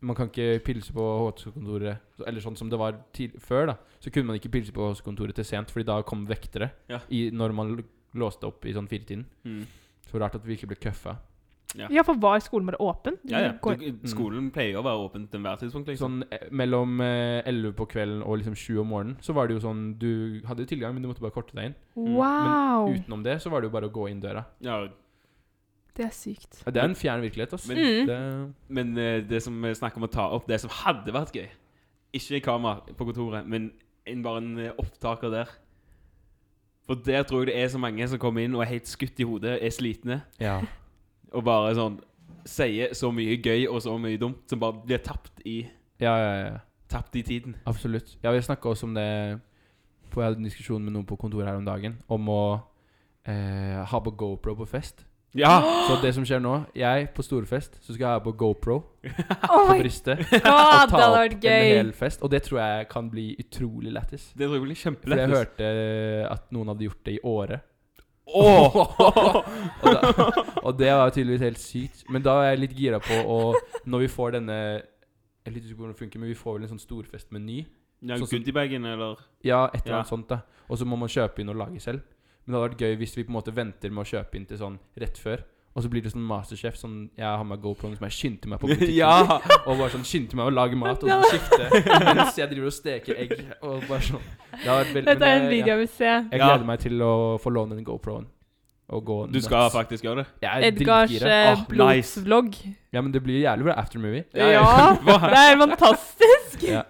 S1: Man kan ikke pilse på HTC-kontoret, så- eller sånn som det var tid før, da. Så kunne man ikke pilse på HTC-kontoret til sent, fordi da kom vektere
S3: Ja.
S1: i, når man l- låste opp i sånn firetiden.
S3: Mm.
S1: Så rart at vi ikke ble køffa.
S3: Ja.
S2: Ja, for var skolen bare åpen?
S3: Ja, ja.
S2: Går-
S3: Du, skolen pleier å være åpen til enhver tidspunkt. liksom.
S1: Sånn eh, mellom eh, 11 på kvelden og liksom 7 om morgenen, så var det jo sånn Du hadde jo tilgang, men du måtte bare korte deg inn.
S2: Wow!
S1: Utenom det så var det jo bare å gå inn døra.
S3: Ja,
S2: Det er sykt.
S1: Ja, Det er en fjern virkelighet, ass.
S3: Men-
S2: Mm.
S1: det,
S3: Men eh, det som vi snakker om å ta opp, det som hadde vært gøy Ikke kamera på kontoret, men en, bare en eh, opptaker der. For der tror jeg det er så mange som kommer inn og er helt skutt i hodet, er slitne,
S1: ja.
S3: og bare sånn sier så mye gøy og så mye dumt, som bare blir tapt i,
S1: Ja, ja, ja.
S3: tapt i tiden.
S1: Absolutt. Ja, vi snakka også om det på, Jeg hadde en diskusjon med noen på kontoret her om dagen om å eh, ha på GoPro på fest. [gasps]
S3: Ja! [laughs]
S1: Så det som skjer nå Jeg, på storfest, så skal jeg ha på GoPro
S2: Oh
S1: på
S2: my
S1: brystet.
S3: [laughs]
S1: [laughs]
S2: god, det hadde vært
S1: en
S2: gøy!
S1: hel fest. Og det tror jeg kan bli utrolig lættis.
S3: Det tror jeg blir
S1: For jeg
S3: kjempelættis.
S1: hørte at noen hadde gjort det i Åre.
S3: Åh! [laughs]
S1: og, da, og det var tydeligvis helt sykt. Men da er jeg litt gira på å Når vi får denne Jeg er litt usikker på hvordan det funker, men vi får vel en sånn storfestmeny.
S3: Ja,
S1: Sånn som-
S3: Goodiebagen, eller
S1: Ja, et eller
S3: Ja.
S1: annet sånt da Og så må man kjøpe inn og lage selv Men det hadde vært gøy hvis vi på en måte venter med å kjøpe inn til sånn rett før Og så blir det sånn masterchef sånn Jeg har med GoPro-en som jeg skyndte meg på butikken.
S3: [laughs] ja!
S1: Og bare sånn skyndte meg å lage mat og så skifte mens jeg driver og steker egg. Og bare sånn Det har vært veldig
S2: [laughs] Dette er en
S1: jeg,
S2: video jeg vil se.
S1: jeg
S3: Ja.
S1: gleder meg til å få låne den GoPro-en. Og gå
S3: Du skal faktisk gjøre det?
S1: Jeg er
S2: Edgars
S1: dritgira.
S2: eh,
S3: Åh, nice.
S2: blodsvlogg.
S1: Ja, men det blir jævlig bra aftermovie.
S2: Ja,
S1: [laughs]
S3: Hva?
S2: det er fantastisk!
S1: Ja.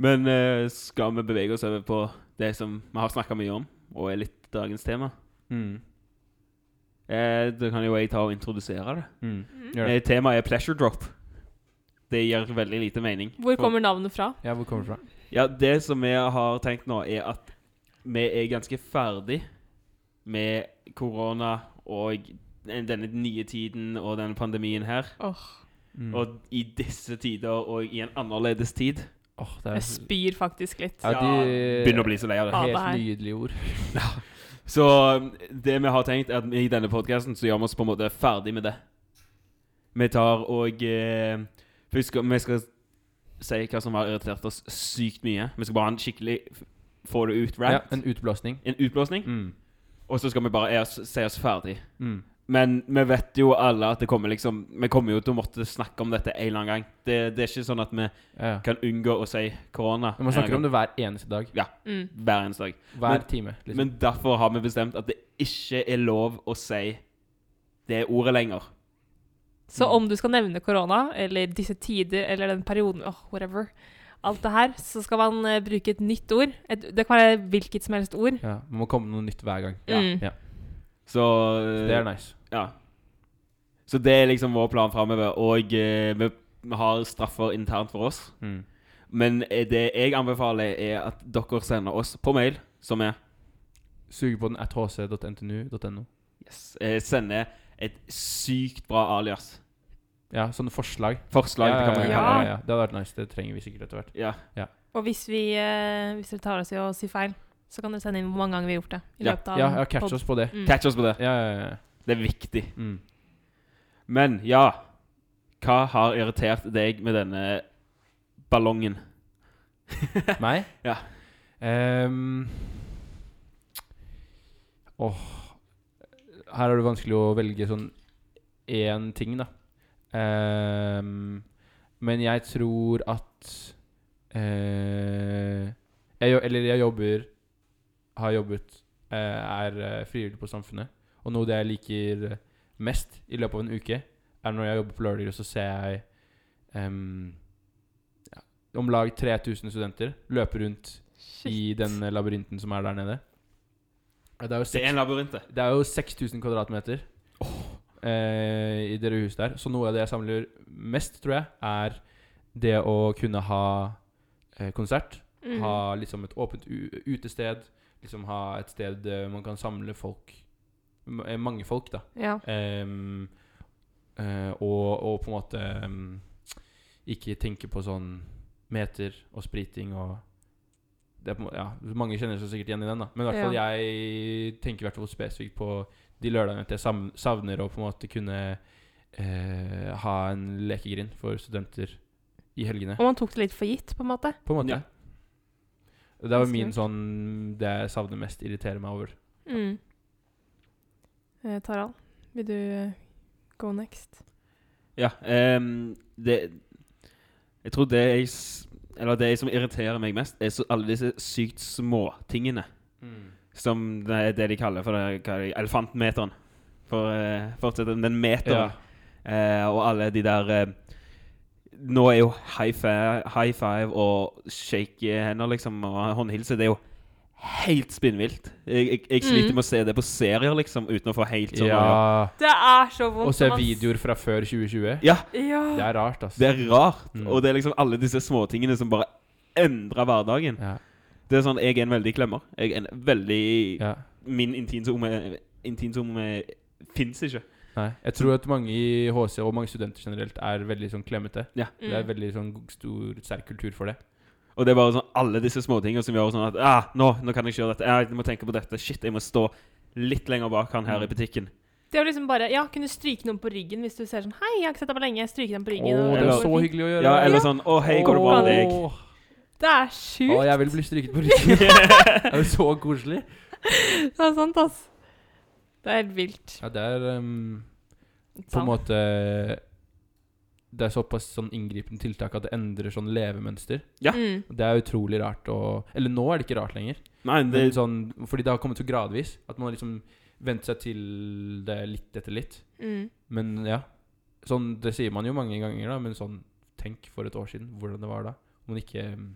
S3: Men eh, skal vi bevege oss over på det som vi har snakka mye om, og er litt dagens tema?
S1: Mm.
S3: Eh, da kan jo jeg ta og introdusere det.
S1: Mm.
S2: Mm.
S1: Gjør det.
S3: Eh, temaet er pleasure drop. Det gir veldig lite mening.
S2: Hvor kommer navnet fra?
S1: Ja, hvor kommer det fra?
S3: Ja, Det som vi har tenkt nå, er at vi er ganske ferdig med korona og denne nye tiden og denne pandemien her.
S1: Mm.
S3: Og i disse tider og i en annerledes tid
S1: Åh, det er
S2: Jeg spyr faktisk litt.
S1: ja, de
S3: begynner å bli så lei av det.
S2: Ja, det
S1: Helt
S2: her.
S1: nydelige ord.
S3: Så um, det vi har tenkt, er at i denne podkasten så gjør vi oss på en måte ferdig med det. Vi tar og eh, Først skal vi skal si hva som har irritert oss sykt mye. Vi skal bare ha en skikkelig f- få det ut
S1: Ja,
S3: rant.
S1: en utblåsning.
S3: en utblåsning.
S1: Mm.
S3: Og så skal vi bare er oss, si oss ferdig.
S1: Mm.
S3: Men vi vet jo alle at det kommer liksom Vi kommer jo til å måtte snakke om dette en eller annen gang. Det, det er ikke sånn at vi
S1: Ja. ja.
S3: kan unngå å si korona.
S1: Men Man snakker om det hver eneste dag.
S2: Mm.
S3: hver eneste dag.
S1: Hver
S3: Men-
S1: time. Liksom.
S3: Men derfor har vi bestemt at det ikke er lov å si det ordet lenger.
S2: Så
S1: Mm.
S2: om du skal nevne korona, eller disse tider, eller den perioden, åh, whatever, alt det her, så skal man eh, bruke et nytt ord. Et, det kan være hvilket som helst ord.
S1: ja, man må komme med noe nytt hver gang.
S2: Mm.
S1: Ja.
S3: Så
S1: Det er nice.
S3: Ja. Så det er liksom vår plan framover. Og eh, vi, vi har straffer internt for oss.
S1: Mm.
S3: Men eh, det jeg anbefaler, er at dere sender oss på mail, som er
S1: Suge på den at hc.ntnu.no.
S3: yes, eh, Sender et sykt bra alias.
S1: Ja, sånne forslag.
S3: Forslag til hva
S1: ja,
S3: man
S1: ja,
S3: kan kalle
S1: ja,
S3: det.
S1: ja. Det hadde vært nice. Det trenger vi sikkert etter hvert.
S3: Ja.
S2: Og hvis, vi, eh, hvis dere tar oss i å si feil, så kan dere sende inn hvor mange ganger vi har gjort det. I
S3: Ja.
S2: løpet av
S1: Ja, ja catch
S2: pod-
S1: oss på det.
S2: Mm.
S3: Catch oss på det.
S1: Ja, ja, ja.
S3: Det er viktig.
S1: Mm.
S3: Men ja Hva har irritert deg med denne ballongen?
S1: Meg?
S3: Ja.
S1: Ehm. Åh Her er det vanskelig å velge sånn én ting, da. Ehm, men jeg tror at eh, jeg, jo- Eller jeg jobber Har jobbet eh, Er eh, frivillig på Samfunnet. Og noe av det jeg liker mest i løpet av en uke, er når jeg jobber på lørdager, og så ser jeg ehm, om lag 3000 studenter løpe rundt i den labyrinten som er der nede. Og Det er jo,
S3: Det er
S1: seks-
S3: en labyrint, det.
S1: det er jo 6000 kvadratmeter eh, i det huset der. Så noe av det jeg samler mest, tror jeg, er det å kunne ha eh, konsert.
S2: Mm.
S1: Ha liksom et åpent u utested. Liksom ha et sted eh, man kan samle folk. M eh, mange folk, da.
S2: Ja.
S1: Ehm, eh, og, og på en måte ehm, ikke tenke på sånn meter og spriting og det er på, en måte- ja, Mange kjenner seg sikkert igjen i den, da. Men i hvert fall
S2: Ja.
S1: jeg tenker i hvert fall spesifikt på de lørdagene at jeg sam- savner å på en måte kunne eh, ha en lekegrind for studenter i helgene.
S2: Og man tok det litt for gitt, på en måte.
S1: På en måte.
S3: Ja.
S1: Det var
S2: Ganske
S1: min
S2: kult.
S1: sånn Det jeg savner mest, irriterer meg over.
S2: Mm. Eh, Tarald, vil du eh, go next?
S3: Ja, ehm, det Jeg tror det jeg s- Eller det som irriterer meg mest, er så alle disse sykt små tingene.
S2: Mm.
S3: Som det er det de kaller for det, hva er det, elefantmeteren. For eh, fortsett den- den meteren.
S1: Ja.
S3: Eh, og alle de der eh, Nå er jo high five, high five og shake hender, liksom, og håndhilse, det er jo helt spinnvilt. Jeg, jeg, jeg sliter
S2: Mm.
S3: med å se det på serier, liksom, uten å få helt sånn
S1: Ja.
S2: Det er så vondt.
S1: Og se videoer fra før 2020.
S3: ja,
S2: Ja.
S1: Det er rart, altså.
S3: Det er rart.
S1: Mm.
S3: Og det er liksom alle disse småtingene som bare endrer hverdagen.
S1: Ja,
S3: Det er sånn, Jeg er en veldig klemmer. Jeg er en veldig
S1: ja.
S3: Min intinsone intinsone fins ikke.
S1: Nei. Jeg tror at mange i HC, og mange studenter generelt, er veldig sånn klemmete. Det er
S2: Mm.
S1: veldig sånn stor, sterk kultur for det.
S3: Og det er bare sånn alle disse småtingene som gjør sånn at ah, nå, nå kan jeg ikke gjøre dette. Ah, Jeg må tenke på dette. Shit, jeg må stå litt lenger bak han her i butikken.
S2: Det å liksom bare ja, kunne stryke noen på ryggen hvis du ser sånn Hei, jeg har ikke sett deg på lenge. Stryke dem på
S1: Å,
S2: ryggen. og
S1: det er så
S2: går fint.
S1: hyggelig å gjøre.
S3: Ja, eller sånn Å, hei, går det bra med deg?
S1: Åh.
S2: Det
S1: Å,
S2: er sjukt.
S1: jeg vil bli stryket på ryggen. det er jo så koselig.
S2: [laughs] Det er sant, ass. Det er helt vilt.
S1: Ja, det er ehm, på
S2: Sant.
S1: en måte Det er såpass sånn inngripende tiltak at det endrer sånn levemønster.
S3: Ja.
S2: Mm.
S1: Det er utrolig rart å Eller nå er det ikke rart lenger.
S3: Nei, det,
S1: Men sånn, fordi det har kommet så gradvis. At man har liksom vent seg til det litt etter litt.
S2: Mm.
S1: Men ja. Sånn, det sier man jo mange ganger, da, men sånn Tenk for et år siden hvordan det var da. Om man ikke ehm,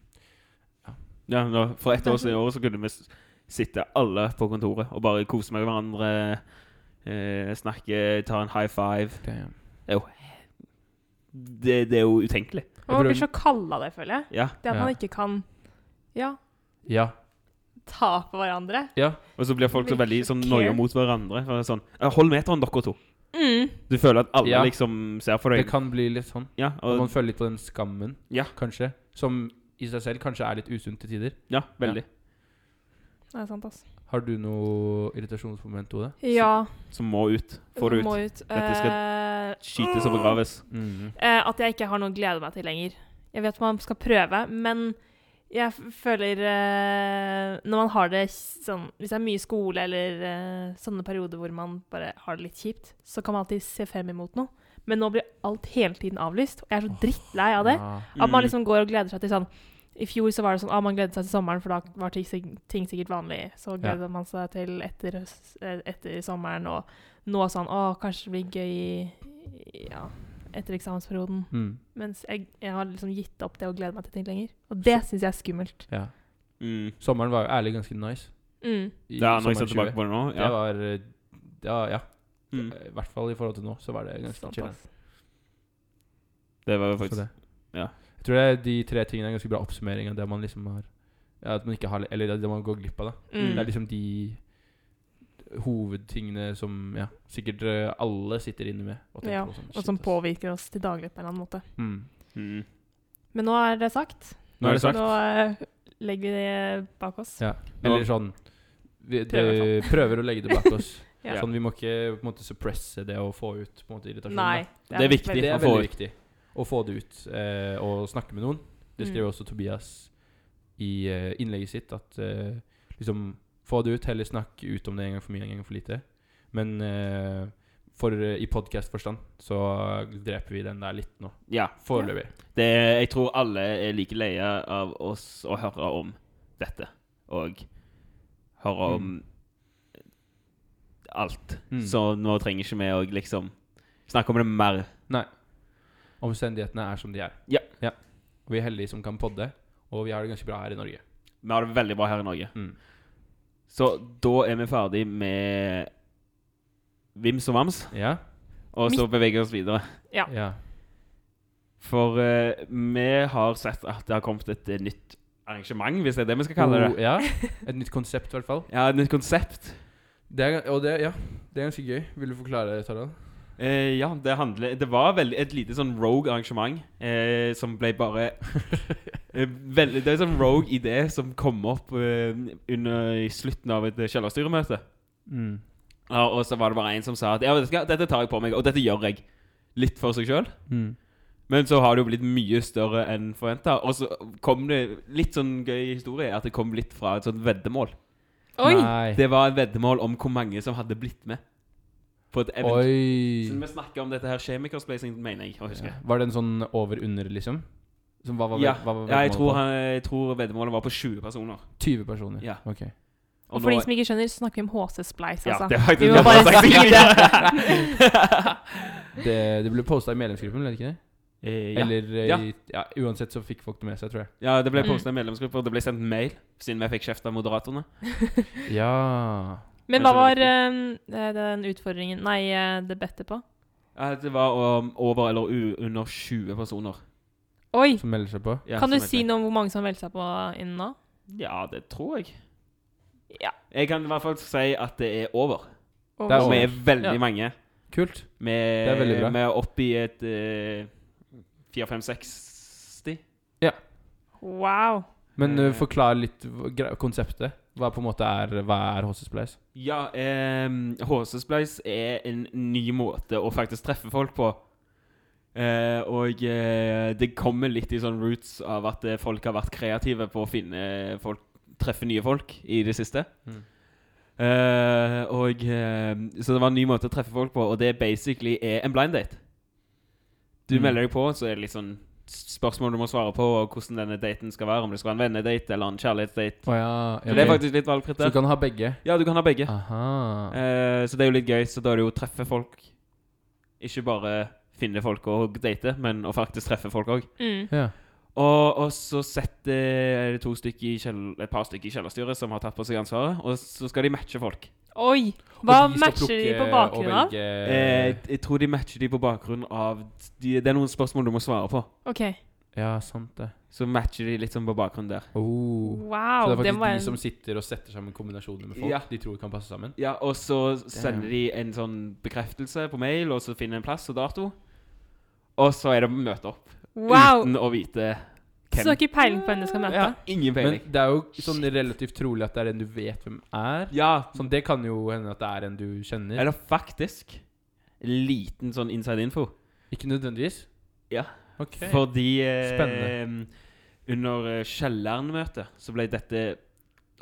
S3: ja, nå, for ett år siden i året så kunne vi s- sitte alle på kontoret og bare kose med hverandre. Eh, snakke, ta en high five. Det, det er jo utenkelig.
S2: Og man blir så kald av det, føler jeg.
S3: Ja.
S2: Det at
S1: Ja.
S2: man ikke kan ja,
S1: Ja.
S2: ta på hverandre.
S3: Og så blir folk så
S2: Blir
S3: veldig sånn
S2: sjokkert.
S3: noia mot hverandre. For det er sånn «Ja, Hold meteren, dere to.
S2: Mm.
S3: Du føler at alle
S1: Ja.
S3: liksom ser på
S1: Det
S3: deg.
S1: kan bli litt sånn.
S3: Ja,
S1: Og
S3: og,
S1: man føler litt på den skammen,
S3: Ja.
S1: kanskje. Som i seg selv kanskje er litt usunt til tider.
S3: ja veldig.
S2: Det er sant, ass.
S1: Har du noe irritasjonsmoment, Ode?
S2: Ja,
S3: Som må ut. Få det
S2: må
S3: ut.
S2: ut.
S3: Dette skal-
S2: Eh,
S3: Skytes og begraves.
S2: eh, at jeg ikke har noe å glede meg til lenger. Jeg vet man skal prøve, men jeg f- føler eh, Når man har det s- sånn Hvis det er mye skole eller eh, sånne perioder hvor man bare har det litt kjipt, så kan man alltid se frem imot noe. Men nå blir alt hele tiden avlyst, og jeg er så drittlei av det. At
S1: Mm.
S3: Mm,
S2: man liksom går og gleder seg til sånn I fjor så var det sånn ah, man gledet seg til sommeren, for da var ting, sik- ting sikkert vanlig. Så gledet man seg til etter, høst- eh, etter sommeren, og nå sånn Å, kanskje det blir gøy i- ja, etter eksamensperioden.
S1: Mm.
S2: Mens jeg, jeg har liksom gitt opp det å glede meg til ting lenger. Og det syns jeg er skummelt.
S1: Ja.
S3: Mm.
S1: Sommeren var jo ærlig ganske nice.
S2: Mm.
S1: I
S3: Ja, når jeg
S1: sommeren
S3: ser
S1: 20.
S3: tilbake på det nå
S1: Det
S3: ja.
S1: var eh, Ja, ja.
S3: Mm.
S1: I hvert fall i forhold til nå, så var det ganske
S2: Sant,
S1: chill.
S2: ass.
S3: Det var jo
S1: Så
S3: faktisk
S1: det.
S3: Ja.
S1: Jeg tror det er de tre tingene er en ganske bra oppsummering av det man liksom har ja, At man ikke har Eller det man går glipp av, da.
S2: Mm.
S1: Det er liksom de hovedtingene som ja, sikkert eh, alle sitter inne med og tenker
S2: Ja,
S1: på. Sånn,
S2: Og
S1: shit,
S2: som
S1: ass.
S2: påvirker oss til daglig på en eller annen måte.
S1: Mm.
S3: mm.
S2: Men nå er det sagt.
S1: Nå er det sagt.
S2: Nå eh, legger vi det bak oss.
S1: Ja. Eller sånn vi det,
S2: Prøver i hvert
S1: prøver, å legge det bak oss.
S2: [laughs] Ja.
S1: Sånn, Vi må ikke på en måte suppresse det og få ut på en måte irritasjon.
S2: Nei.
S1: da.
S3: Det er viktig.
S1: Det
S2: veldig-
S1: er
S3: å få
S1: veldig viktig å få det ut eh, og snakke med noen. Det skriver også Tobias i eh, innlegget sitt. At eh, liksom Få det ut, heller snakk ut om det en gang for mye, en gang for lite. Men eh, for, eh, i podkast-forstand så dreper vi den der litt nå.
S3: Ja.
S1: Foreløpig.
S3: Det, er- jeg tror alle er like leie av oss å høre om dette. Og høre om alt.
S1: Mm.
S3: Så nå trenger ikke vi å liksom snakke om det mer.
S1: Omstendighetene er som de er.
S3: Ja.
S1: Og vi er heldige som kan podde, og vi har det ganske bra her i Norge.
S3: Vi har det veldig bra her i Norge.
S1: Mm.
S3: Så da er vi ferdig med vims og vams,
S1: Ja?
S3: og så beveger vi oss videre.
S2: Ja.
S1: ja.
S3: For eh, vi har sett at det har kommet et eh, nytt arrangement, hvis det er det vi skal kalle det.
S1: Og- Ja.
S2: [laughs]
S1: Et nytt konsept, i hvert fall.
S3: Oh. Ja, et nytt konsept.
S1: Det er, og det, ja, det er ganske gøy. Vil du forklare, Tarald?
S3: Eh, ja, det handler Det var veldig, et lite sånn rogue arrangement eh, som ble bare [laughs] eh, veldig, Det er en sånn rogue idé som kom opp eh, under, i slutten av et eh, kjellerstyremøte. Mm. Ja, og så var det bare en som sa at ja, vet du hva, dette tar jeg på meg, og dette gjør jeg. Litt for seg sjøl.
S1: Mm.
S3: Men så har det jo blitt mye større enn forventa. Og så kom det litt sånn gøy historie at det kom litt fra et sånt veddemål.
S2: Oi!
S1: Nei.
S3: Det var et veddemål om hvor mange som hadde blitt med på et event.
S1: Oi.
S3: Siden vi snakker om dette her kjemikerspacing, mener jeg å huske.
S1: Ja. Var det en sånn over-under, liksom? Som hva var
S3: Ja.
S1: hva var
S3: Ja, jeg
S1: veddemålet
S3: tror,
S1: på?
S3: han, jeg tror veddemålet var på 20 personer.
S1: 20 personer.
S3: Ja.
S1: Ok.
S2: Og for de som ikke skjønner, så snakker vi om HC-spleis,
S3: ja,
S2: altså.
S3: det var
S2: [laughs] Vi må bare si det. [laughs]
S1: Det, det ble posta i medlemsgruppen, ble det ikke det?
S3: Eller,
S1: Eller [laughs] eh,
S3: Ja.
S1: i- ja, uansett så fikk folk det med seg, tror jeg.
S3: ja, det ble
S2: Mm.
S3: postet i medlemsgrupper, det ble sendt mail, siden vi fikk kjeft av moderatorene.
S1: Ja.
S2: Men
S3: Men
S2: hva
S3: så
S2: var
S3: var
S2: eh, den utfordringen Nei, eh, det bedte på?
S3: Ja, det var um, over eller u under 20 personer.
S2: Oi!
S1: Som melder seg på.
S3: Ja,
S2: kan du
S3: som jeg
S2: si
S3: vet.
S2: noe om hvor mange som har meldt seg på innen nå?
S3: Ja, det tror jeg.
S2: Ja.
S3: Jeg kan i hvert fall si at det er over.
S2: Og-
S1: Det er
S3: Og vi
S1: over.
S3: er veldig
S1: Ja.
S3: mange.
S1: Kult.
S3: Vi
S1: Det er veldig bra.
S3: vi er oppe i eh, et uh, 4-5-60.
S2: Wow!
S1: Men
S3: Eh.
S1: eh, forklar litt hva- gra- konseptet. Hva på en måte er Hva er HC Splice?
S3: Ja, ehm, HC-spleis er en ny måte å faktisk treffe folk på. Eh, og eh, det kommer litt i sånn roots av at eh, folk har vært kreative på å finne folk, treffe nye folk i det siste.
S1: Mm.
S3: Eh, og eh, Så det var en ny måte å treffe folk på, og det basically er en blind date. Du
S1: Mm.
S3: melder deg på, så er det litt sånn spørsmål du må svare på, og hvordan denne daten skal være. Om det skal være en vennedate eller en kjærlighetsdate.
S1: Å ja.
S3: Så det er faktisk litt
S1: så
S3: valgfritt
S1: du
S3: der.
S1: kan Ah, ha begge?
S3: Ja, du kan ha begge.
S1: Aha.
S3: Eh, så det er jo litt gøy, så da er det jo å treffe folk. Ikke bare finne folk og date, men å faktisk treffe folk òg.
S2: Mm.
S1: Ja.
S3: Og, og så setter er det to stykker i kjell, et par stykker i kjellerstyret som har tatt på seg ansvaret, og så skal de matche folk.
S2: Oi! Hva
S1: Og de skal
S2: matcher de på
S1: plukke og
S2: bakgrunn av?
S1: velge-
S3: Eh, jeg tror de matcher de på bakgrunn av de, Det er noen spørsmål du må svare på.
S2: Ok,
S1: Ja, sant det.
S3: Så matcher de litt sånn på bakgrunn der.
S1: Oh. Så
S2: wow.
S1: det er
S2: Det
S1: faktisk
S2: må være
S1: de som
S2: en
S1: sitter og setter sammen kombinasjoner med folk
S3: Ja.
S1: de tror kan passe sammen?
S3: Ja, og så sender de en sånn bekreftelse på mail, og så finner en plass og dato. Og så er det å møte opp
S2: Wow!
S3: uten å vite
S2: Så du har ikke peiling på hvem du skal møte?
S3: Ja, ingen
S1: Men
S3: peiling.
S1: det er jo sånn relativt trolig at det er en du vet hvem er.
S3: Ja,
S1: Sånn, Det kan jo hende at det er en du kjenner.
S3: Eller faktisk liten sånn inside info.
S1: Ikke nødvendigvis.
S3: Ja.
S1: Ok.
S3: Fordi eh,
S1: Spennende.
S3: under eh, Kielland-møtet så ble dette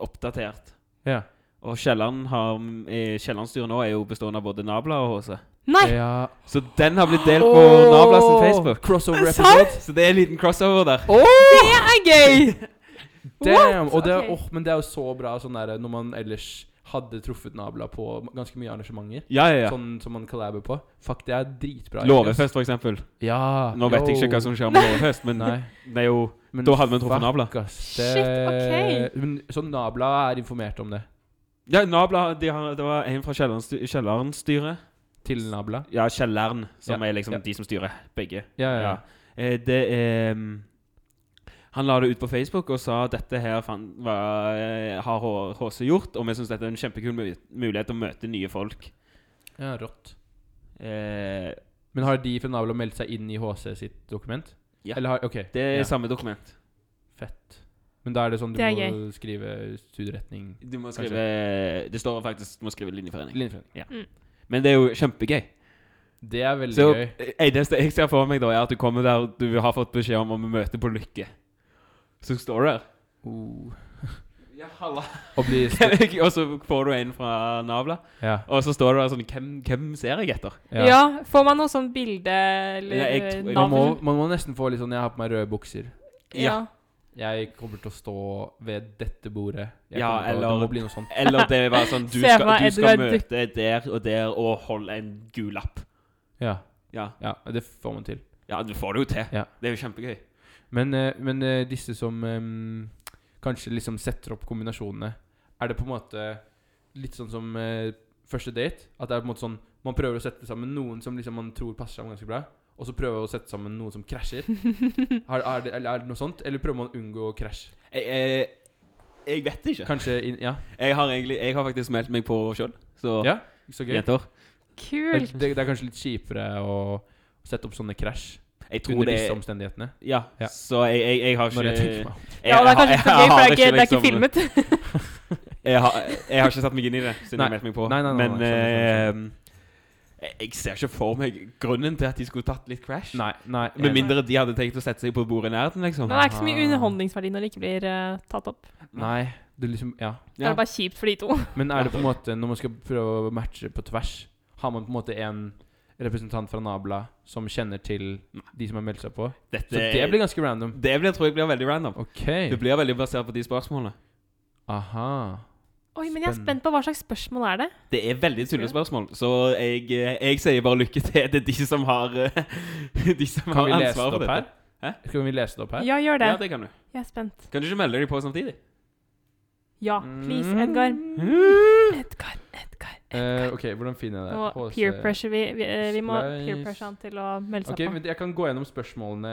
S3: oppdatert.
S1: Ja.
S3: Og Kielland har, eh, Kielland-styret nå er jo bestående av både Nabla og HC.
S2: Nei!
S1: ja.
S3: Så den har blitt delt på
S1: Åh!
S3: Nabla sin Facebook.
S1: Crossover
S2: Er det sant?
S1: episode.
S3: Så det er en liten crossover der.
S1: Eh.
S2: Det er gøy!
S1: Damn! Og det, er-
S2: Ok.
S1: åh, men det er jo så bra sånn der, når man ellers hadde truffet nabla på ganske mye arrangementer.
S3: Ja, ja, ja.
S1: Sånn som man collaber på. Fuck, det er dritbra. egentlig, ass.
S3: Låvefest, for eksempel.
S1: Ja.
S3: Nå vet jeg ikke hva som skjer med Låvefest, men
S1: Nei.
S3: det er jo
S1: Men
S3: Da hadde vi truffet
S1: fuck,
S3: nabla.
S1: ass,
S2: Shit, ok.
S1: Men, så sånn nabla er informert om det?
S3: Ja, Nabla de har, Det var en fra Kielland-sty- Kielland-styret.
S1: Til nabla?
S3: Ja, Kjellern, som
S1: Ja,
S3: er liksom
S1: ja.
S3: de som styrer begge.
S1: Ja, ja.
S3: Ja. Eh, det eh, Han la det ut på Facebook og sa dette her fan, hva, eh, har H- HC gjort, og vi syns dette er en kjempekul mu- mulighet til å møte nye folk.
S1: ja. Rått.
S3: Eh,
S1: Men har de fra nabla meldt seg inn i HC sitt dokument?
S3: Ja.
S1: Eller har, ok,
S3: det er
S1: ja.
S3: samme dokument.
S1: Fett. Men da er det sånn du
S2: Det er
S1: må skrive studieretning
S3: Du må skrive, det står faktisk du må skrive linjeforening.
S1: Linjeforening.
S3: Men det er jo kjempegøy.
S1: Det er veldig
S3: Så
S1: gøy.
S3: eh, eneste jeg ser for meg, da er at du kommer der du har fått beskjed om å møte på Lykke. Så står du der. Uh.
S1: Oh.
S3: Ja, halla.
S1: Og bli st-
S3: [laughs] og så får du en fra Navla.
S1: ja.
S3: Og så står det der sånn Hvem, hvem ser jeg etter?
S2: Ja. Får man noe sånt bilde eller
S3: Ja, jeg-
S2: navn?
S1: Man må, man må nesten få litt sånn Jeg har på meg røde bukser.
S2: ja.
S1: Jeg kommer til å stå ved dette bordet. Jeg
S3: Ja,
S1: kommer til å-
S3: eller-
S1: Det må bli noe sånt.
S3: Eller det var sånn Du
S2: [laughs] Se
S3: skal,
S2: meg,
S3: du skal
S2: Edvard,
S3: møte der og der og holde en gul lapp.
S1: Ja.
S3: Ja.
S1: ja, det får man til.
S3: ja, du får det jo til.
S1: Ja.
S3: Det er jo kjempegøy.
S1: Men, eh, men eh, disse som eh, kanskje liksom setter opp kombinasjonene, er det på en måte litt sånn som eh, første date? At det er på en måte sånn man prøver å sette sammen noen som liksom man tror passer sammen ganske bra, og så prøver man å sette sammen noen som krasjer? er, er, det, eller er det noe sånt? Eller prøver man å unngå krasj?
S3: Jeg, jeg, jeg vet ikke.
S1: Kanskje inn, Ja.
S3: Jeg har, egentlig, jeg har faktisk meldt meg på sjøl. Så
S1: ja? Så gøy.
S3: jenter
S1: Det,
S2: Kult.
S1: det er kanskje litt kjipere å sette opp sånne krasj
S3: Jeg tror
S1: under
S3: det
S1: disse omstendighetene.
S3: Ja,
S1: Ja.
S3: så jeg, jeg, jeg har ikke
S1: Når jeg tenker meg om.
S2: Ja, det er kanskje ikke så gøy, for det er ikke, liksom- det er ikke
S3: filmet
S2: filmet.
S3: liksom- Jeg har, jeg har ikke satt meg inn i det siden
S1: Nei.
S3: jeg meldte meg på.
S1: Nei, nei, nei,
S3: Men
S1: nei, sånn, skjønner,
S3: eh, jeg- jeg ser ikke for meg grunnen til at de skulle tatt litt crash.
S1: Nei, nei. eh,
S3: Med mindre de hadde tenkt å sette seg på bordet i nærheten, liksom.
S2: Men det er ikke så mye
S1: Aha.
S2: underholdningsverdi når det ikke blir eh, tatt opp.
S1: Nei, det er liksom Ja.
S2: Da er det bare kjipt [laughs] for de to.
S1: Men er det på en måte når man skal prøve å matche på tvers, har man på en måte en representant fra Nabla som kjenner til de som har meldt seg på?
S3: Dette,
S1: Så det blir ganske random.
S3: det blir, tror jeg blir veldig random.
S1: OK.
S3: Det blir veldig basert på de spørsmålene.
S1: Aha.
S2: Oi, men jeg er
S1: Spennende.
S2: spent på hva slags spørsmål er det?
S3: Det er veldig tullespørsmål, så jeg, eh, jeg sier bare lykke til til de som har eh, [laughs] De som
S1: Kan
S3: har
S1: vi lese
S3: ansvaret
S1: det
S3: for
S1: opp
S3: dette.
S1: her?
S3: Hæ?
S1: Skal vi lese det opp her?
S2: Ja, gjør det.
S3: Ja, det kan du.
S2: Jeg er spent.
S3: Kan du ikke melde deg på samtidig?
S2: Ja, please, Edgar. Edgar, Edgar.
S1: Mm. Eh, OK, hvordan finner jeg det?
S2: Nå
S1: HC.
S2: peer pressure altså. vi, vi, eh, vi må peer
S1: Slice.
S2: pressure han til å melde seg
S1: Ok,
S2: på.
S1: men Jeg kan gå gjennom spørsmålene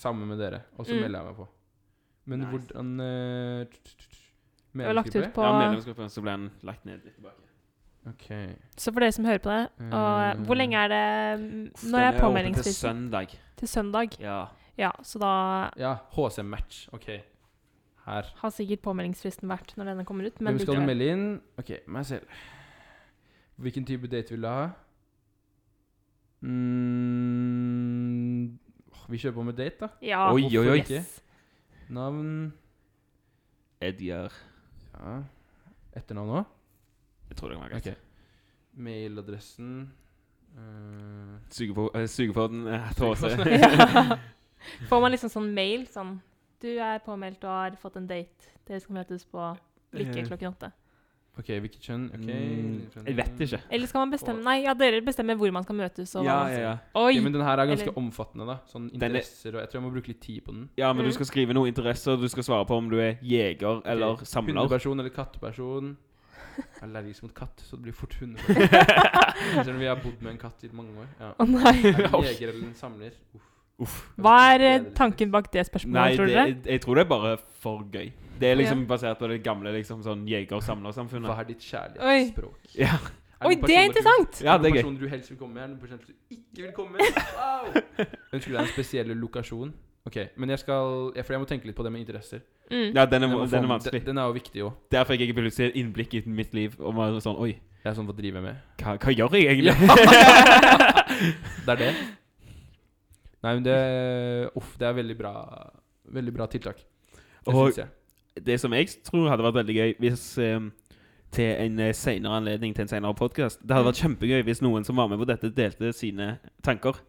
S1: sammen med dere, og så
S2: Mm.
S1: melder jeg meg på. Men
S3: Nice.
S1: hvordan eh, t- t- t-
S2: Det var lagt ut
S1: medlemsgruppe?
S2: på
S3: Ja, medlemsgruppen, så blir den lagt ned litt tilbake.
S1: Ok.
S2: Så for dere som hører på det, og eh, hvor lenge er det mm, Når
S3: Den
S2: er
S3: åpen til
S2: påmeldingsfristen?
S3: søndag.
S2: Til søndag.
S3: Ja.
S2: Ja, så da
S1: Ja, HC Match. Ok. her.
S2: Har sikkert påmeldingsfristen vært når denne kommer ut, men
S1: Hvem skal du
S2: likevel.
S1: melde inn? Ok, meg selv. Hvilken type date vil du ha? Mm, åh, vi kjøper på med date, da.
S2: Ja,
S3: Oi, oi, oi.
S2: Yes.
S1: Navn
S3: Edgar
S1: ja. Etternavn òg?
S3: Jeg tror det kan være greit.
S1: Ok. Mailadressen eh,
S3: Suger på, eh, suger på den eh, tåse.
S1: [laughs]
S2: Ja. Får man liksom sånn mail sånn Du er påmeldt og har fått en date. Dere skal møtes på Lykke
S3: Eh.
S2: klokken åtte.
S1: OK, hvilket kjønn? Ok,
S3: [laughs] Mm, Jeg vet ikke.
S2: Eller skal man bestemme Nei, ja, dere bestemmer hvor man skal møtes. Og,
S3: Ja,
S2: hva man
S3: ja,
S2: skal-
S3: ja.
S1: Ok,
S2: Oi!
S1: men den her er ganske
S2: Eller-
S1: omfattende, da. Sånn
S3: er-
S1: interesser og Jeg tror jeg må bruke litt tid på den.
S3: ja, men du
S2: Mm.
S3: skal skrive noe interesser. Du skal svare på om du er jeger eller samler.
S1: Hundeperson eller
S3: [laughs]
S1: katteperson. Jeg er allergisk mot katt, så det blir fort hundeperson.
S3: [laughs]
S1: Selv om vi har bodd med en katt i mange år. [laughs] Ja.
S2: Å nei.
S1: Er det en jeger eller en samler? Uff.
S3: Uff.
S2: Hva er eh, tanken bak det
S3: Nei,
S2: spørsmålet, tror
S3: det,
S2: dere?
S3: jeg, jeg tror det er bare for gøy. Det er liksom basert på det gamle liksom, sånn
S1: Hva
S3: jeger-samler-samfunnet.
S1: er ditt
S2: Oi.
S1: kjærlighetsspråk?
S3: Ja.
S1: Er
S2: Oi,
S1: noen
S2: det
S1: personer du-
S2: er interessant!
S3: ja, det
S1: noen
S3: er gøy.
S1: personer du helst vil komme med? Er det noen personer du ikke vil komme med?
S3: [laughs]
S1: Wow! Ønsker du deg en spesiell lokasjon? Ok, men jeg skal ja, For jeg må tenke litt på det med interesser.
S2: Mm.
S3: Ja, den er,
S1: Jeg må få-
S3: den er vanskelig.
S1: Den, den er jo viktig òg.
S3: Der fikk jeg plutselig et innblikk i mitt liv. Og var sånn, oi,
S1: Jeg er sånn, hva driver jeg med?
S3: hva, hva gjør jeg egentlig?
S1: Det er det. Nei, men det Uff, det er veldig bra Veldig bra tiltak. Det
S3: [laughs] Og-
S1: syns jeg.
S3: Det som jeg tror hadde vært veldig gøy hvis ehm, til en eh, senere anledning til en senere podkast Det hadde vært kjempegøy hvis noen som var med på dette, delte sine tanker.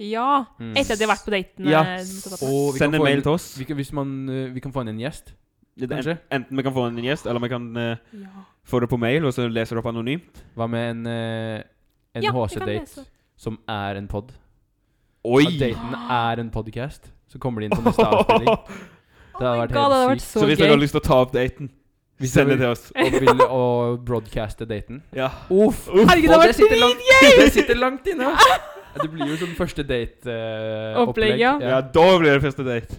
S2: Ja. Etter at de har vært på daten.
S3: Ja.
S2: eh, så-
S1: Og vi kan
S3: Send en
S1: få
S3: mail
S1: en-
S3: til oss.
S1: Mm. Vi kan, hvis man, eh, vi kan få inn en gjest.
S3: Enten,
S1: kanskje?
S3: enten vi kan få en gjest, eller vi kan eh,
S2: Ja.
S3: få det på mail, og så leser det opp anonymt.
S1: Hva med en, eh, en
S2: Ja, vi kan
S1: HC-date
S2: lese.
S1: som er en pod?
S3: Oi!
S1: At daten er en podcast, så kommer
S3: [laughs]
S1: de inn på neste avspilling.
S2: Oh
S1: Det hadde
S2: my
S1: vært
S2: God, det hadde
S1: helt
S2: vært
S1: sykt.
S2: så,
S3: Så hvis dere har lyst til å ta opp daten,
S1: Hvis
S3: send det
S1: dere
S3: til oss.
S1: og vil å broadcaste daten.
S3: Ja.
S1: Uff!
S2: [laughs] Herregud, det
S1: Og
S2: hadde
S1: det
S2: vært
S1: sitter langt, [laughs]
S2: dritgøy!
S1: det sitter langt inne! Ja, Det blir jo sånn første eh, date-opplegg.
S2: Opplegg, ja.
S3: Ja, da blir det første date.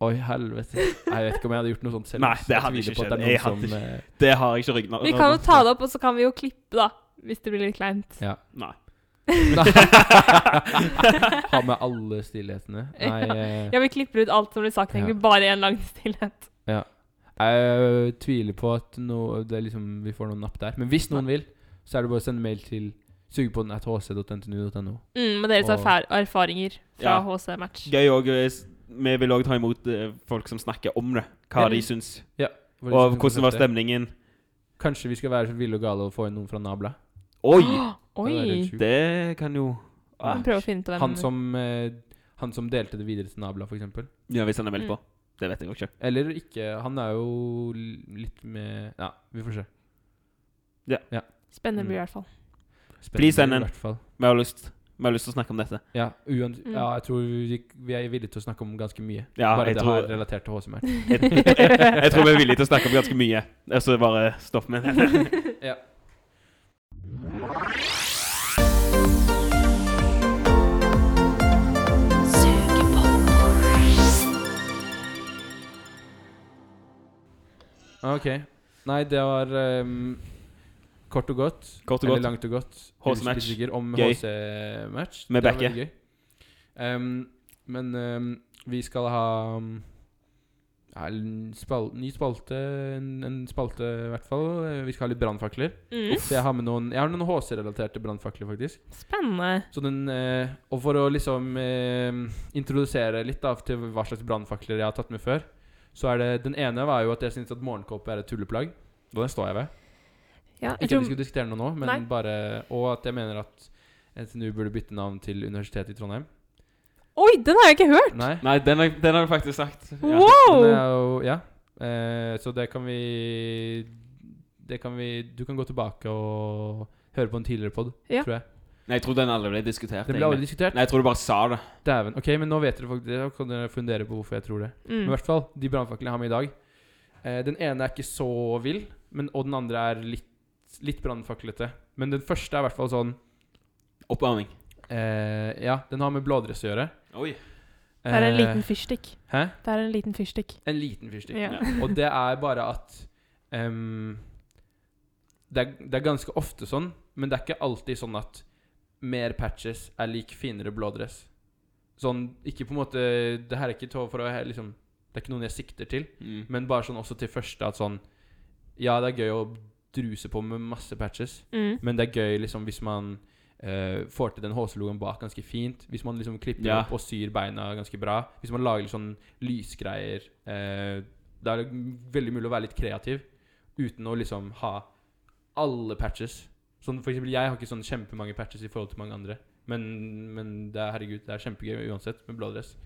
S1: Oi, helvete. Jeg vet ikke om jeg hadde gjort noe sånt selv.
S3: Nei, det
S1: Jeg
S3: hadde
S1: tviler
S3: ikke
S1: på at det er noen
S3: skjedd. Jeg hadde
S1: som, eh, [laughs]
S3: Det har jeg ikke ryggen av.
S2: Vi kan jo ta det opp, og så kan vi jo klippe, da. Hvis det blir
S1: [laughs]
S2: litt kleint. [laughs]
S3: Nei.
S1: Ha med alle stillhetene. Nei, eh,
S2: [laughs] Ja, vi klipper ut alt som blir sagt, egentlig. Bare en lang stillhet.
S1: jeg tviler på at no, det er liksom, vi får noen napp der. Men hvis noen vil, så er det bare å sende mail til sugepodden.hc.ntnu.no.
S2: Mm, med deres
S1: Og-
S2: erfar erfaringer fra
S3: Ja.
S2: HC-match.
S3: Gøy òg. Vi vil òg ta imot eh, folk som snakker om det. Hva
S1: Ja.
S3: de syns.
S1: Hvor de skal
S3: Og
S1: få
S3: hvordan var
S1: møte.
S3: stemningen.
S1: Kanskje vi skal være så ville og gale og få inn noen fra Nabla.
S3: Oi!
S2: Ah.
S3: Ah,
S1: Det hadde vært
S2: Oi!
S1: sjukt.
S3: Det kan jo
S2: Vi må prøve å finne ut av hvem
S1: Han som, eh, han som delte det videre til Nabla, f.eks.
S3: Ja, hvis han er meldt
S2: Mm.
S3: på. Det vet jeg jo ikke.
S1: Eller ikke. Han er jo l- litt med Ja, vi får se.
S2: Spennende
S1: Mm.
S2: blir det i hvert fall.
S1: Spennende
S3: Please send
S1: i
S3: en.
S1: hvert fall.
S3: Vi har lyst Vi har lyst til å snakke om
S2: [laughs]
S3: dette.
S1: Ja, uan
S2: Mm.
S1: ja, jeg tror vi, vi er villige til å snakke om ganske mye.
S3: Ja,
S1: Bare
S3: jeg
S1: det
S3: tror-
S1: har relatert til HCM.
S3: Jeg, jeg tror vi er villige til å snakke om ganske mye. Altså bare stopp med det.
S1: Ah, Ok. Nei, det var ehm, kort og godt.
S3: Kort og
S1: eller
S3: godt.
S1: langt og godt.
S3: HC-match.
S1: Ulykkesbeskytter Om
S3: Gøy.
S1: HC-match.
S3: Med
S1: Det var
S3: Bekke.
S1: veldig gøy. Ehm, men ehm, vi skal ha um, ja, en spal ny spalte. En, en spalte, i hvert fall. Eh, Vi skal ha litt brannfakler.
S2: [laughs] Mm.
S1: Så jeg har med noen Jeg har noen HC-relaterte brannfakler, faktisk.
S2: Spennende.
S1: Så den, eh, og for å liksom eh, introdusere litt da, til hva slags brannfakler jeg har tatt med før, så er det Den ene var jo at jeg syns at morgenkåpe er et tulleplagg. Og den står jeg ved.
S2: Ja, jeg
S1: Ikke at vi
S2: tror,
S1: skulle diskutere noe nå, men
S2: Nei.
S1: bare Og at jeg mener at NTNU burde bytte navn til Universitetet i Trondheim.
S2: oi, den har jeg ikke hørt!
S1: Nei.
S3: [laughs] Nei, den har, den har du faktisk sagt. Ja.
S1: Den er
S2: Wow!
S1: jo Ja. Eh, så det kan vi Det kan vi Du kan gå tilbake og høre på en tidligere pod,
S2: Ja.
S1: tror jeg.
S3: Nei, jeg tror den aldri ble diskutert.
S1: Det ble aldri
S3: egentlig.
S1: diskutert.
S3: Nei, jeg tror du bare sa det.
S1: Dæven. Ok, men nå vet dere faktisk det. Da kan dere fundere på hvorfor jeg tror det. Men i
S2: Mm.
S1: hvert fall, de brannfaklene jeg har med i dag eh, Den ene er ikke så vill, men, og den andre er litt, litt brannfaklete. Men den første er i hvert fall sånn
S3: Oppvarming.
S1: eh, Ja, den har med blådress å gjøre.
S3: Oi.
S2: Det er en
S1: Eh,
S2: liten fyrstikk.
S1: Hæ?
S2: Det er en liten fyrstikk.
S1: En liten fyrstikk.
S2: Ja. [laughs]
S1: [laughs] Og det er bare at ehm, det, er, det er ganske ofte sånn, men det er ikke alltid sånn at mer patches er lik finere blådress. Sånn, ikke på en måte Det her er ikke tå- for å he- liksom Det er ikke noen jeg sikter til.
S3: Mm.
S1: Men bare sånn også til første at sånn Ja, det er gøy å druse på med masse patches,
S2: Mm.
S1: men det er gøy liksom hvis man eh, får til den HC-logoen bak ganske fint. Hvis man liksom klipper
S3: Ja.
S1: opp og syr beina ganske bra. Hvis man lager litt sånn lysgreier. eh, det er veldig mulig å være litt kreativ uten å liksom ha alle patches. Sånn for eksempel, jeg har ikke sånn kjempemange patches i forhold til mange andre. Men, men det er, herregud, det er kjempegøy uansett med blå dress.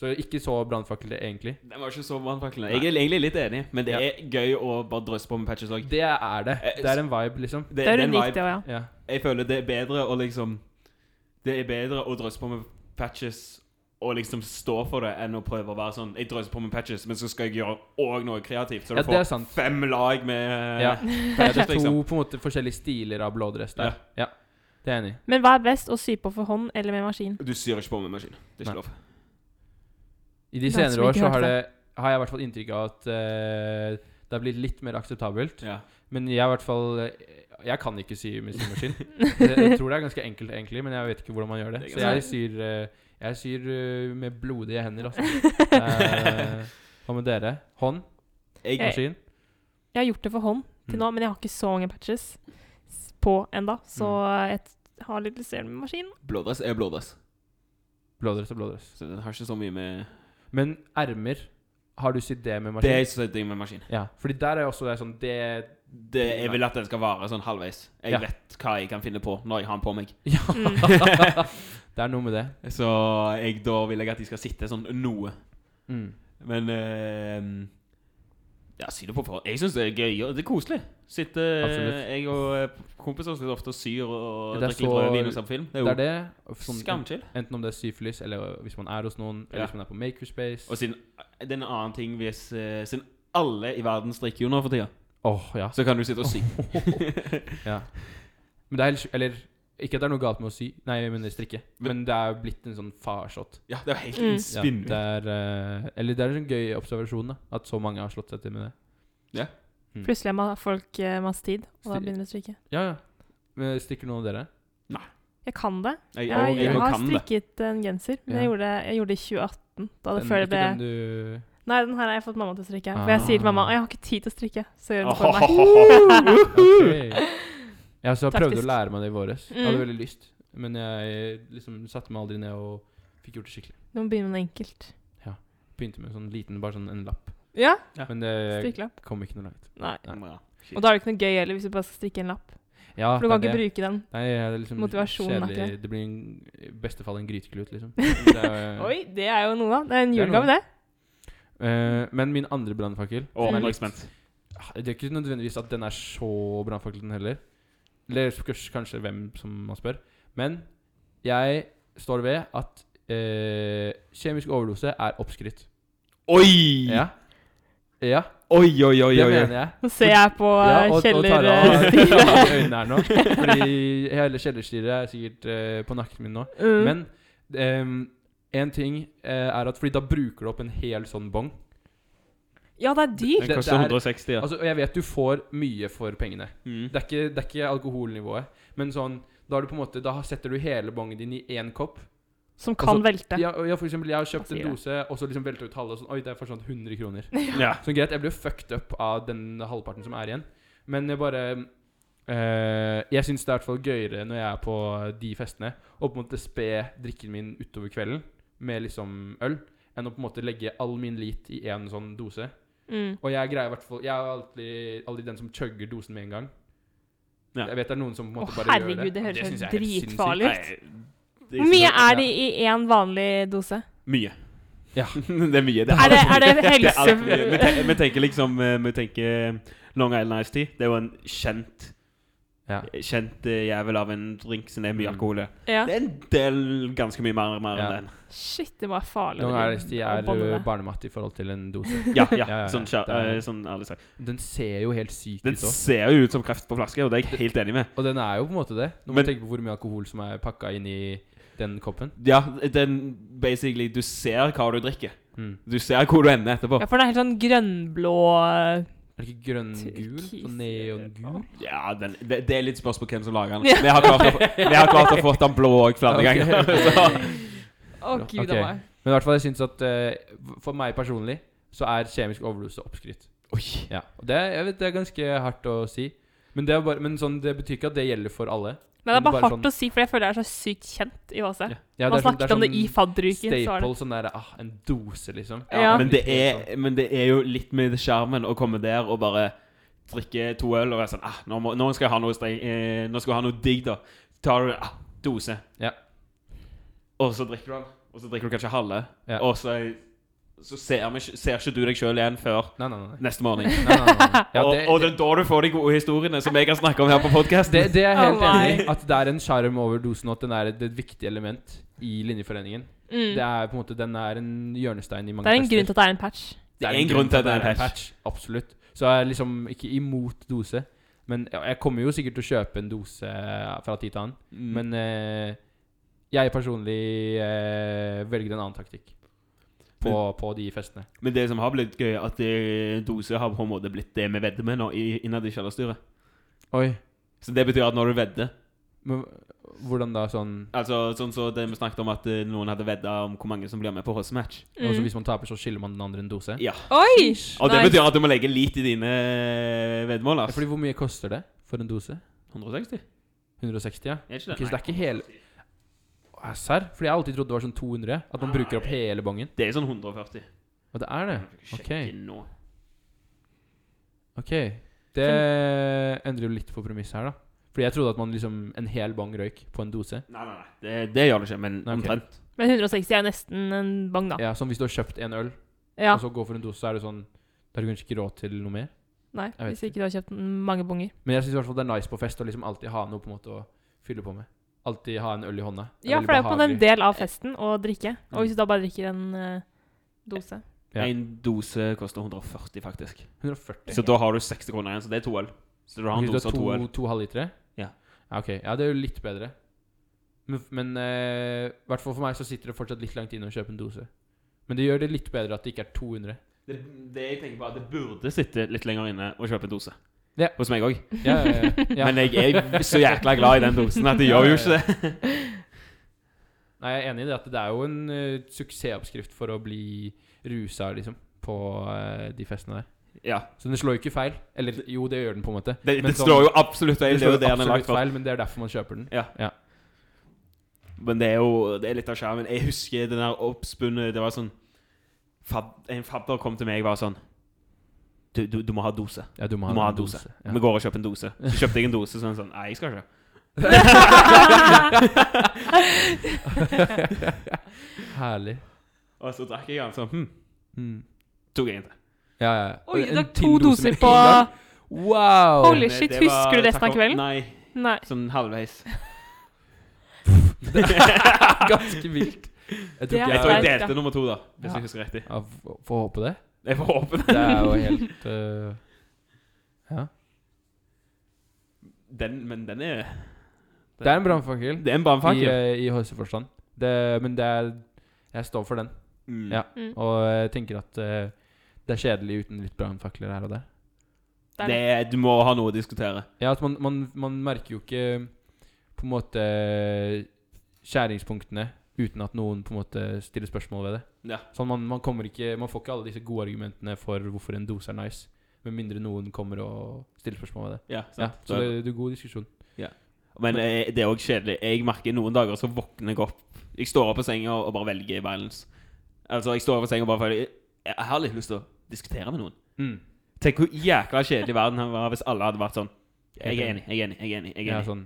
S1: Så ikke så brannfakkel, det, egentlig.
S3: Den var ikke så brannfakkel. Jeg er egentlig litt enig, men det er gøy å bare drøsse på med patches òg.
S1: Det er det.
S3: Eh,
S1: Det er en vibe, liksom.
S3: Det,
S2: Det er
S3: den
S2: unikt,
S3: vibe-
S2: det òg, ja. [laughs]
S1: Ja.
S3: Jeg føler det er bedre å liksom Det er bedre å drøsse på med patches og liksom stå for det, enn å prøve å være sånn Jeg drøser på med patches, men så skal jeg gjøre òg noe kreativt. Så du
S1: Ja, det er
S3: får
S1: sant.
S3: fem lag med [laughs]
S1: Ja. Det
S3: patches,
S1: er to
S3: liksom.
S1: på en måte forskjellige stiler av blådress der. Ja. Det er jeg enig i.
S2: Men hva er best, å sy på for hånd eller med maskin?
S3: Du syr ikke på med maskin. Det er
S1: Nei.
S3: ikke lov.
S1: I de
S2: Det er som
S1: senere år
S2: ikke
S1: så
S2: hørt
S1: har, det, har jeg i hvert fall inntrykk av at eh, det har blitt litt mer akseptabelt.
S3: Ja.
S1: Men jeg i hvert fall eh, Jeg kan ikke sy med symaskin. Det- jeg tror det er ganske enkelt, egentlig, men jeg vet ikke hvordan man gjør det.
S3: Det er
S1: Så jeg syr, eh, jeg syr eh, med blodige hender,
S2: [laughs]
S1: altså. Eh, Hva med dere? Hånd?
S3: [laughs] Jeg,
S2: Jeg-
S1: Maskin?
S2: Jeg har gjort det for hånd til
S1: Mm.
S2: nå, men jeg har ikke så mange patches s- på enda Så
S1: Mm.
S2: jeg t- har litt lyst til å gjøre det med maskin.
S3: blådress er blådress,
S1: Blådress og blådress.
S3: så den har ikke så mye med
S1: Men ermer, har du sydd det med
S3: Det
S1: maskin?
S3: er ikke så digg med maskin.
S1: Ja, fordi der er også det sånn Det
S3: Det, jeg vil at den skal vare sånn halvveis. Jeg
S1: Ja.
S3: vet hva jeg kan finne på når jeg har den på meg.
S1: [laughs] Ja! [laughs] det er noe med det.
S3: Så jeg, da vil jeg at de skal sitte sånn noe.
S1: Mm.
S3: Men eh, Ja, si det på forhånd. Jeg syns det er gøy. og Det er koselig. Sitte eh,
S1: Absolutt.
S3: Jeg og eh, kompiser sitter ofte og syr og
S1: Det er
S3: drikker litt
S1: så-
S3: rødvin og ser på film. Det
S1: Det er
S3: er
S1: det. og
S3: jo
S1: Sånn,
S3: skamchill.
S1: Enten om det er syfilis, eller hvis man er hos noen, eller
S3: Ja.
S1: hvis man er på makerspace.
S3: Og siden eh, det er en annen ting hvis eh, Siden alle i verden strikker jo nå for tida,
S1: Åh, [laughs] ja.
S3: så kan du sitte og sy.
S1: ja. Men det er helt sj- Eller ikke at det er noe galt med å sy, nei, jeg mener strikke, men det er blitt en sånn farsott.
S3: Ja, det er jo helt
S2: Mm.
S1: Ja,
S3: spinnvilt.
S1: det er eh, Eller det er en sånn gøy observasjon, da, at så mange har slått seg til med det. Mm.
S2: Plutselig har ma- folk eh, masse tid, og da
S1: Stil-
S2: begynner de å strikke.
S1: Ja, ja. Men Strikker noen av dere?
S2: Jeg kan det.
S3: Jeg,
S2: Jeg,
S3: jeg,
S2: jeg,
S1: og- og
S2: har
S3: kan det.
S2: strikket en genser, men
S1: Ja.
S2: jeg, gjorde, jeg gjorde det i 2018. Da det
S1: Den-
S2: før det
S1: ikke
S2: ble
S1: den du
S2: Nei, den her har jeg fått mamma til å strikke. For jeg sier til mamma
S1: Ah.
S2: at jeg har ikke tid til å strikke, så gjør hun det for meg.
S1: [laughs]
S3: Ohohoho.
S1: Ok. Jeg også prøvde
S2: Taktisk.
S1: å lære meg det i våres. Jeg
S2: Mm.
S1: hadde veldig lyst, men jeg liksom satte meg aldri ned og fikk gjort det skikkelig.
S2: Du må begynne med noe enkelt.
S1: Begynte med en sånn liten, bare sånn en lapp.
S2: Ja,
S3: Ja.
S1: Men det
S2: strikkelapp.
S1: kom ikke noe langt.
S2: Nei.
S3: Ja, shit.
S2: Og da er det ikke noe gøy heller, hvis du bare skal strikke en lapp.
S1: Ja,
S2: For du kan ikke bruke den.
S1: Nei, det er liksom
S2: Motivasjonen er ikke
S1: kjedelig. Det blir en, i beste fall en gryteklut,
S2: [laughs]
S1: liksom. Det er-
S2: Oi, det er jo noe, da. Det er en
S1: Det er noe.
S2: julegave, det.
S1: Eh, men min andre brannfakkel
S3: Å,
S1: som er
S3: nå er jeg
S1: litt-
S3: spent.
S1: Ah, Det er ikke nødvendigvis at den er så brannfakkel, den heller. Eller spørs kanskje hvem som man spør. Men jeg står ved at eh, kjemisk overdose er oppskrytt.
S3: Oi!
S1: Ja. ja,
S3: Oi, oi, oi,
S1: det
S3: oi. oi.
S1: mener jeg.
S2: Nå ser jeg på
S1: Ja,
S2: eh,
S1: og, og
S2: Kjeller
S1: Tara
S2: eh,
S1: har [laughs] Tara har øynene her nå. Fordi hele kjellerstyret er sikkert eh, på nakken min nå.
S2: Mm.
S1: Men ehm, en ting eh, er at Fordi da bruker du opp en hel sånn bong.
S2: Ja, det er dyrt.
S1: Det-
S3: Den koster
S1: det er-
S3: 160, ja.
S1: Altså, og jeg vet du får mye for pengene.
S3: Mm.
S1: Det er ikke, det er ikke alkoholnivået. Men sånn da, har du på en måte, da setter du hele bongen din i én kopp.
S2: Som kan
S1: Altså,
S2: velte.
S1: Ja, og jeg, for eksempel, jeg har kjøpt
S2: Hva
S1: en
S2: sier
S1: dose, og så liksom velta ut halve. og Sånn, Oi, der forsvant 100 kroner.
S3: Ja.
S1: Så greit, jeg blir jo fucked up av den halvparten som er igjen. Men jeg bare eh, Jeg syns det er i hvert fall gøyere når jeg er på de festene, å på en måte spe drikken min utover kvelden med liksom øl, enn å på en måte legge all min lit i én sånn dose.
S2: Mm.
S1: Og jeg greier i hvert fall Jeg er alltid, alltid den som chugger dosen med en gang.
S3: Ja.
S1: Jeg vet det er noen som på en
S2: Å,
S1: måte bare
S2: herregud,
S1: gjør det.
S2: det
S1: og
S2: høres
S1: synes
S2: jo
S1: jeg er helt
S2: dritfarlig
S3: Nei,
S2: ut.
S3: det er
S2: Hvor mye
S3: ikke så-
S1: så-
S2: er det i én vanlig dose?
S3: Mye.
S1: Ja.
S3: [laughs] det er mye. Det
S2: Er det, er det
S3: [laughs] Det er
S2: helse...
S3: alt for mye. Vi tenker, vi tenker liksom eh, Vi tenker Long Island Ice Tea. Det er jo en kjent
S1: Ja.
S3: Kjent eh, jævel av en drink som det er mye
S1: Mm.
S3: alkohol i.
S2: Ja.
S3: Det er en del ganske mye mer, mer
S1: Ja.
S3: enn den.
S2: Shit, det var farlig.
S1: Noen
S2: å
S1: ganger
S2: drive-
S1: hvis de
S2: å banne
S1: er eh,
S2: det.
S1: barnemat i forhold til en dose.
S3: Ja,
S1: [laughs]
S3: ja,
S1: Ja, ja, ja.
S3: Sånn, kjær-
S1: Det er-
S3: eh, sånn ærlig sagt.
S1: Den ser jo helt syk
S3: Den
S1: ut òg.
S3: ser jo ut som kreft på flaske, og det er jeg helt enig med.
S1: Og den er jo på en måte det. Når
S3: Men-
S1: man tenker på hvor mye alkohol som er pakka inn i den koppen.
S3: Ja, den basically Du ser hva du drikker.
S1: Mm.
S3: Du ser hvor du ender etterpå.
S2: Ja, for den er helt sånn grønnblå eh,
S1: Er det ikke grønn-gul?
S2: Turkis.
S1: Sånn neongul?
S3: Ja, den, det, det er litt spørsmål på hvem som lager den.
S2: Ja.
S3: Vi har klart å, få- vi har klart å få den blå òg
S1: [laughs]
S3: flere
S1: Ok.
S3: ganger. [laughs] Så.
S2: Å, gud a
S1: Ok.
S2: meg.
S1: Men i hvert fall, jeg syns at eh, For meg personlig så er kjemisk overdose oppskrytt.
S3: Oi.
S1: Ja, og det, er- jeg vet, det er ganske hardt å si. Men, det, er bare, men sånn, det betyr ikke at det gjelder for alle.
S2: Men det er
S1: Men
S2: bare
S1: bare
S2: hardt
S1: sånn-
S2: å si, for jeg føler det er så sykt kjent i HC.
S1: Ja. Ja,
S2: Man
S1: er sånn-
S2: snakket om det i fadderuken. så er
S1: Staple,
S2: det-
S1: sånn der, ah, en dose, liksom.
S2: Ja.
S3: Men, det er, men det er jo litt med skjermen å komme der og bare drikke to øl og være sånn ah, nå, må, nå skal jeg ha noe streng, eh, Nå skal jeg ha noe digg, da. Tar du ah, dose,
S1: Ja.
S3: og så drikker du den. Og så drikker du kanskje halve,
S1: Ja.
S3: og så, så ser, vi, ikke- ser ikke du deg sjøl igjen før
S1: sånn. Nei, nei, nei. nei.
S3: neste morgen.
S1: nei, nei, nei,
S3: [laughs]
S1: nei. Ja,
S3: og,
S1: det,
S3: og det er da du får de gode historiene som jeg kan snakke om her på podkasten.
S1: det, det er jeg helt
S2: Å, nei.
S1: enig i. At det er en sjarm over dosen, og at den er et, et viktig element i Linjeforeningen.
S2: Mm.
S1: Det er på en måte, Den er en hjørnestein i mange
S2: Det er en
S1: fester.
S2: grunn til at det er en patch.
S3: Det er en grunn til at det er en
S1: Absolutt. Så jeg er liksom ikke imot dose. Men ja, jeg kommer jo sikkert til å kjøpe en dose eh, fra tid til annen.
S3: Mm.
S1: Men eh, jeg personlig eh, velger en annen taktikk på, på de festene.
S3: Men det som har blitt gøy, er at eh, dose har på en måte blitt det vi vedder med nå i- innad i kjellerstyret.
S1: Oi.
S3: Så det betyr at når du vedder
S1: Men hvordan da sånn
S3: Altså sånn så det vi snakket om at eh, noen hadde vedda om hvor mange som blir med på Hoss-match.
S1: Og så
S2: Mm.
S1: altså, hvis man taper, så skylder man den andre en dose?
S3: Ja.
S2: Oi!
S3: Og det
S2: Nice.
S3: betyr at du må legge litt i dine eh, veddemål.
S1: Ja,
S3: ass.
S1: fordi hvor mye koster det for en dose?
S3: 160?
S1: 160, ja?
S3: Er ikke
S1: Ok,
S3: det?
S1: så det er ikke hele Å, Serr? Fordi jeg har alltid trodd det var sånn 200. At
S3: Ah.
S1: man bruker opp hele bongen.
S3: Det er sånn 140.
S1: Og det er det.
S3: Sjekk
S1: Ok.
S3: inn nå.
S1: Ok. Det endrer jo litt på premisset her, da. Fordi jeg trodde at man liksom En hel bong røyk på en dose.
S3: Nei, nei, nei. Det, det gjør det ikke, men
S1: Nei, ok.
S3: omtrent.
S2: Men 160 er jo nesten en bang, da.
S1: Ja, Altså, Som hvis du har kjøpt en øl,
S2: Ja.
S1: og så går for en dose, så er det sånn Da har du kanskje ikke råd til noe mer.
S2: Nei,
S1: Jeg vet
S2: hvis ikke du har kjøpt mange bonger.
S1: Men jeg syns i hvert fall det er nice på fest å liksom alltid ha noe på en måte å fylle på med. Alltid ha en øl i hånda.
S2: Ja, for det er jo på en
S1: veldig behagelig.
S2: del av festen å drikke. Og hvis du da bare drikker en eh, dose
S1: Ja.
S3: En dose koster 140, faktisk.
S1: 140.
S3: Så da har du 60 kroner igjen, så det er to øl. Så du har
S1: Ok, så
S3: en dose og
S1: to,
S3: to øl.
S1: to halvlitere?
S3: Ja.
S1: ja. Ok, ja, det er jo litt bedre. Men, men eh, i hvert fall for meg så sitter det fortsatt litt langt inne å kjøpe en dose. Men det gjør det litt bedre at det ikke er
S2: [laughs]
S1: 200.
S3: Det, det jeg tenker på er at det burde sitte litt lenger inne og kjøpe en dose.
S1: Ja.
S3: Hos meg òg.
S1: Ja, ja, ja, ja.
S3: Men jeg er så jækla glad i den dosen at det gjør jo ikke det.
S1: Nei, jeg er enig i det at det er jo en eh, suksessoppskrift for å bli rusa, liksom, på eh, de festene der.
S3: Ja,
S1: Så den slår jo ikke feil. Eller jo, det gjør den på en måte.
S3: Det,
S1: Men
S3: det
S1: sånn-
S3: slår jo absolutt feil.
S1: den
S3: Det er
S1: slår
S3: jo det han er
S1: absolutt
S3: lagd for.
S1: feil, men det er derfor man kjøper den.
S3: Men det er jo det er litt av skjermen. Jeg husker den der oppspunne Det var sånn fad, En fadder kom til meg og var sånn du, du, du må ha dose.
S1: Ja, du må ha,
S3: Du må ha
S1: en
S3: dose.
S1: Ja.
S3: Vi går og kjøper en dose. Så kjøpte jeg en dose, så han sånn Nei, jeg skal ikke.
S1: [laughs] Herlig.
S3: Og så drakk jeg den, sånn hm,
S1: Mm.
S3: tok jeg en til.
S1: Ja, ja.
S2: Oi,
S1: En
S2: du tok
S1: til
S2: to
S1: dose med
S2: doser
S1: en
S2: på
S1: gang. Wow! [laughs]
S2: Holy
S3: Men
S2: shit,
S3: det var-
S2: husker du resten
S3: takk
S2: av
S3: for-
S2: kvelden?
S3: Nei,
S2: Nei.
S3: sånn halvveis.
S1: Det er [laughs] ganske vilt. Jeg tror
S2: Det
S1: ikke
S2: er
S3: Jeg tror
S1: jeg,
S3: jeg
S2: sterkt,
S3: delte nummer to, da. Hvis
S1: Ja.
S3: jeg husker riktig.
S1: jeg f- får håpe det.
S3: Jeg får håpe det.
S1: Det er jo helt øh, Ja.
S3: Den, men den er
S1: Det er en brannfakkel
S3: Det er en brannfakkel.
S1: i, øh, i høyeste forstand. Det, men det er Jeg står for den.
S3: Mm.
S1: ja.
S2: Mm.
S1: Og jeg tenker at øh, det er kjedelig uten litt brannfakler her og der.
S2: Det er
S3: Det,
S2: det.
S3: du må ha noe å diskutere.
S1: Ja, at man, man, man merker jo ikke på en måte skjæringspunktene uten at noen på en måte stiller spørsmål ved det.
S3: Ja.
S1: Sånn man, man, kommer ikke, man får ikke alle disse gode argumentene for hvorfor en dose er nice, med mindre noen kommer og stiller spørsmål ved det.
S3: Ja,
S1: Ja,
S3: sant.
S1: så det, det er god diskusjon.
S3: Men eh, det er òg kjedelig. Jeg merker noen dager så våkner jeg opp. Jeg står opp på senga og bare velger violence. Altså, jeg står opp på senga og bare føler Jeg har litt lyst til å diskutere med noen.
S1: Mm.
S3: Tenk hvor jækla kjedelig verden hadde vært hvis alle hadde vært sånn. Jeg er enig, jeg er enig, jeg er enig. Jeg er
S1: Ja,
S3: enig.
S1: sånn.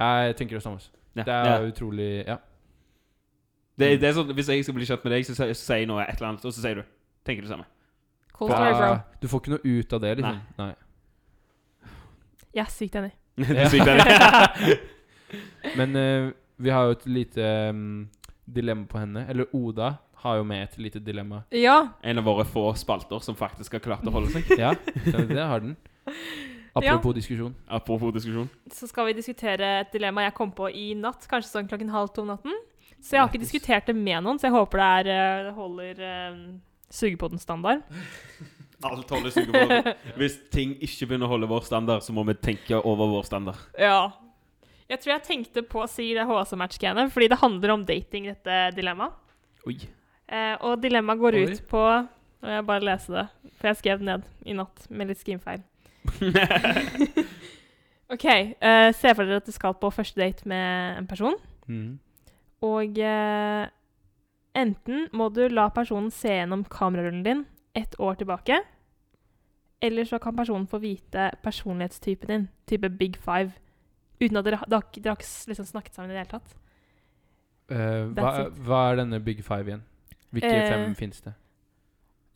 S1: Jeg tenker det samme. ass.
S3: Ja,
S1: Det
S3: ja.
S1: er utrolig Ja.
S3: det, det er sånn, Hvis jeg skal bli kjent med deg, så sier så sier jeg noe, et eller annet, og så sier du Tenker det samme. [laughs]
S2: Cool story, bro.
S1: Ja, du får ikke noe ut av det, liksom. Nei.
S2: Jeg er sykt enig.
S3: Det
S1: Ja.
S3: er sykt enig.
S1: [laughs] Men eh, vi har jo et lite mm, dilemma på henne. Eller Oda har jo med et lite dilemma.
S2: Ja.
S3: En av våre få spalter som faktisk har klart å holde seg.
S1: Ja, stemmer det har
S2: [laughs]
S1: den. Apropos diskusjon.
S3: Apropos diskusjon.
S2: så skal vi diskutere et dilemma jeg kom på i natt, kanskje sånn klokken halv to om natten. Så jeg har ikke
S1: Nice.
S2: diskutert det med noen, så jeg håper det er, eh, det holder uh, sugepodden-standard.
S3: Alt holder suget på det. Hvis ting ikke begynner å holde vår standard, så må vi tenke over vår standard.
S2: [laughs] Ja. Jeg tror jeg tenkte på å si det HSM-match-greiene,
S3: [laughs]
S2: fordi det handler om dating, dette dilemmaet.
S3: Oi.
S2: Eh, og dilemmaet går
S1: Oi.
S2: ut på Og jeg bare leste det. For jeg skrev det ned i natt med litt skrimfeil. OK. eh, se for dere at du skal på første date med en person.
S1: Mm.
S2: Og eh, enten må du la personen se gjennom kamerarullen din ett år tilbake, eller så kan personen få vite personlighetstypen din, type big five, uten at dere, ha- dere, har ikke- dere har ikke liksom snakket sammen i det hele tatt.
S1: Eh, hva,
S2: That's it.
S1: hva er denne Big Five igjen? Hvilke
S2: Eh,
S1: fem fins det?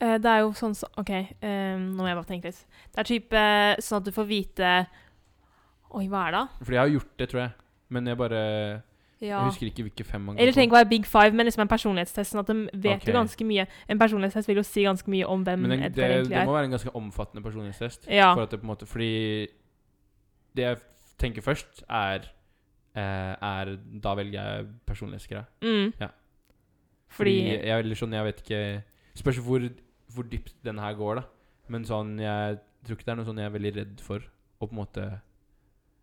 S2: Eh, det er jo sånn som OK, eh, nå må jeg bare tenke litt. Det er type eh, sånn at du får vite Oi, hva er det? da?
S1: Fordi jeg har gjort det, tror jeg. Men jeg bare
S2: Ja.
S1: Jeg husker ikke hvilke fem man
S2: Eller
S1: på.
S2: trenger ikke å være big five, men liksom en personlighetstest. sånn at de vet
S1: Ok.
S2: jo ganske mye. En personlighetstest vil jo si ganske mye om hvem
S1: Men den,
S2: Edgar
S1: det,
S2: Um, egentlig
S1: det
S2: er.
S1: må være en ganske omfattende personlighetstest.
S2: Ja.
S1: For at det på en måte, fordi det jeg tenker først, er, eh, er Da velger jeg personlighetsgreia.
S2: Mm.
S1: Ja. Fordi
S2: Fordi,
S1: jeg, eller sånn, jeg vet ikke Spørs hvor, hvor dypt den her går, da. Men sånn, jeg tror ikke det er noe sånn jeg er veldig redd for å på en måte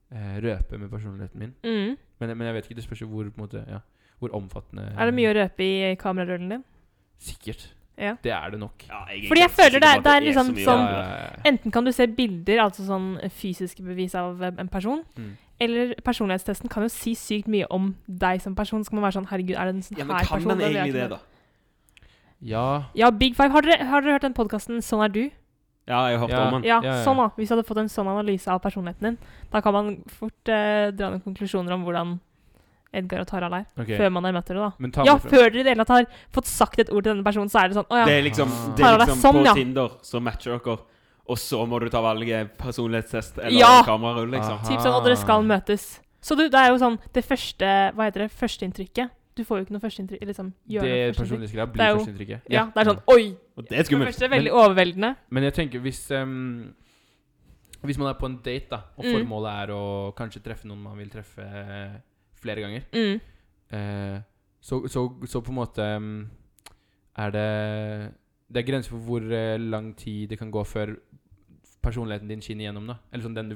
S1: eh, røpe med personligheten min.
S2: mm.
S1: Men, men jeg vet ikke, det spørs jo hvor, på en måte, ja, hvor omfattende
S2: Er det mye å røpe i kamerarullen din?
S1: Sikkert.
S2: Ja.
S1: Det er det nok.
S3: Ja, jeg er
S2: Fordi jeg
S3: ganske
S2: føler
S3: sikker
S2: det er-
S3: på at
S2: det er
S3: så
S2: liksom
S3: mye
S1: Ja,
S2: sånn-
S1: ja,
S3: rart.
S1: ja.
S2: Enten kan du se bilder, altså sånn fysiske bevis av eh, en person,
S1: Mm.
S2: eller personlighetstesten kan jo si sykt mye om deg som person. Så kan man være sånn Herregud, er det en sånn
S3: Ja, men
S2: her person?
S3: kan den
S2: Det vil jeg
S3: egentlig det,
S2: ikke
S3: da?
S1: ja.
S2: vite. Ja, Big Five. Har dere, har dere hørt den podkasten 'Sånn er du'?
S3: Ja, jeg har hørt
S1: Ja.
S3: om den.
S2: Ja,
S1: ja, ja.
S2: sånn da. Hvis du hadde fått en sånn analyse av personligheten din, da kan man fort eh, dra noen konklusjoner om hvordan Edgar og Tarald er,
S1: Ok.
S2: før man har møtt dere, da.
S1: Men ta
S2: ja,
S1: meg fra-
S2: før dere i det hele tatt har fått sagt et ord til denne personen, så er det sånn Å ja.
S3: Det er liksom,
S1: Ah.
S3: det er
S2: Tarald er
S3: liksom
S2: sånn,
S3: på
S2: ja.
S3: Tinder så matcher dere, og så må du ta valget personlighetstest eller
S2: Ja.
S3: kamerarull, liksom.
S1: Aha.
S2: Typ sånn, og dere skal møtes. Så du, det er jo sånn det første Hva heter det? Førsteinntrykket. Du får jo ikke noe førsteinntrykk liksom,
S1: Det
S2: gjør noe førsteinntrykk.
S1: personlighetsgreia
S2: Det er
S1: blir
S2: jo-
S1: førsteinntrykket.
S2: Ja, det er sånn Oi!
S3: Og det
S2: For
S3: er
S2: det
S3: skummelt.
S2: første veldig overveldende.
S1: Men jeg tenker hvis ehm, Hvis man er på en date, da, og
S2: Mm.
S1: formålet er å kanskje treffe noen man vil treffe eh, flere ganger,
S2: Mm.
S1: eh, så, så, så på en måte ehm, er det Det er grenser for hvor eh, lang tid det kan gå før personligheten din skinner igjennom. da Eller sånn den du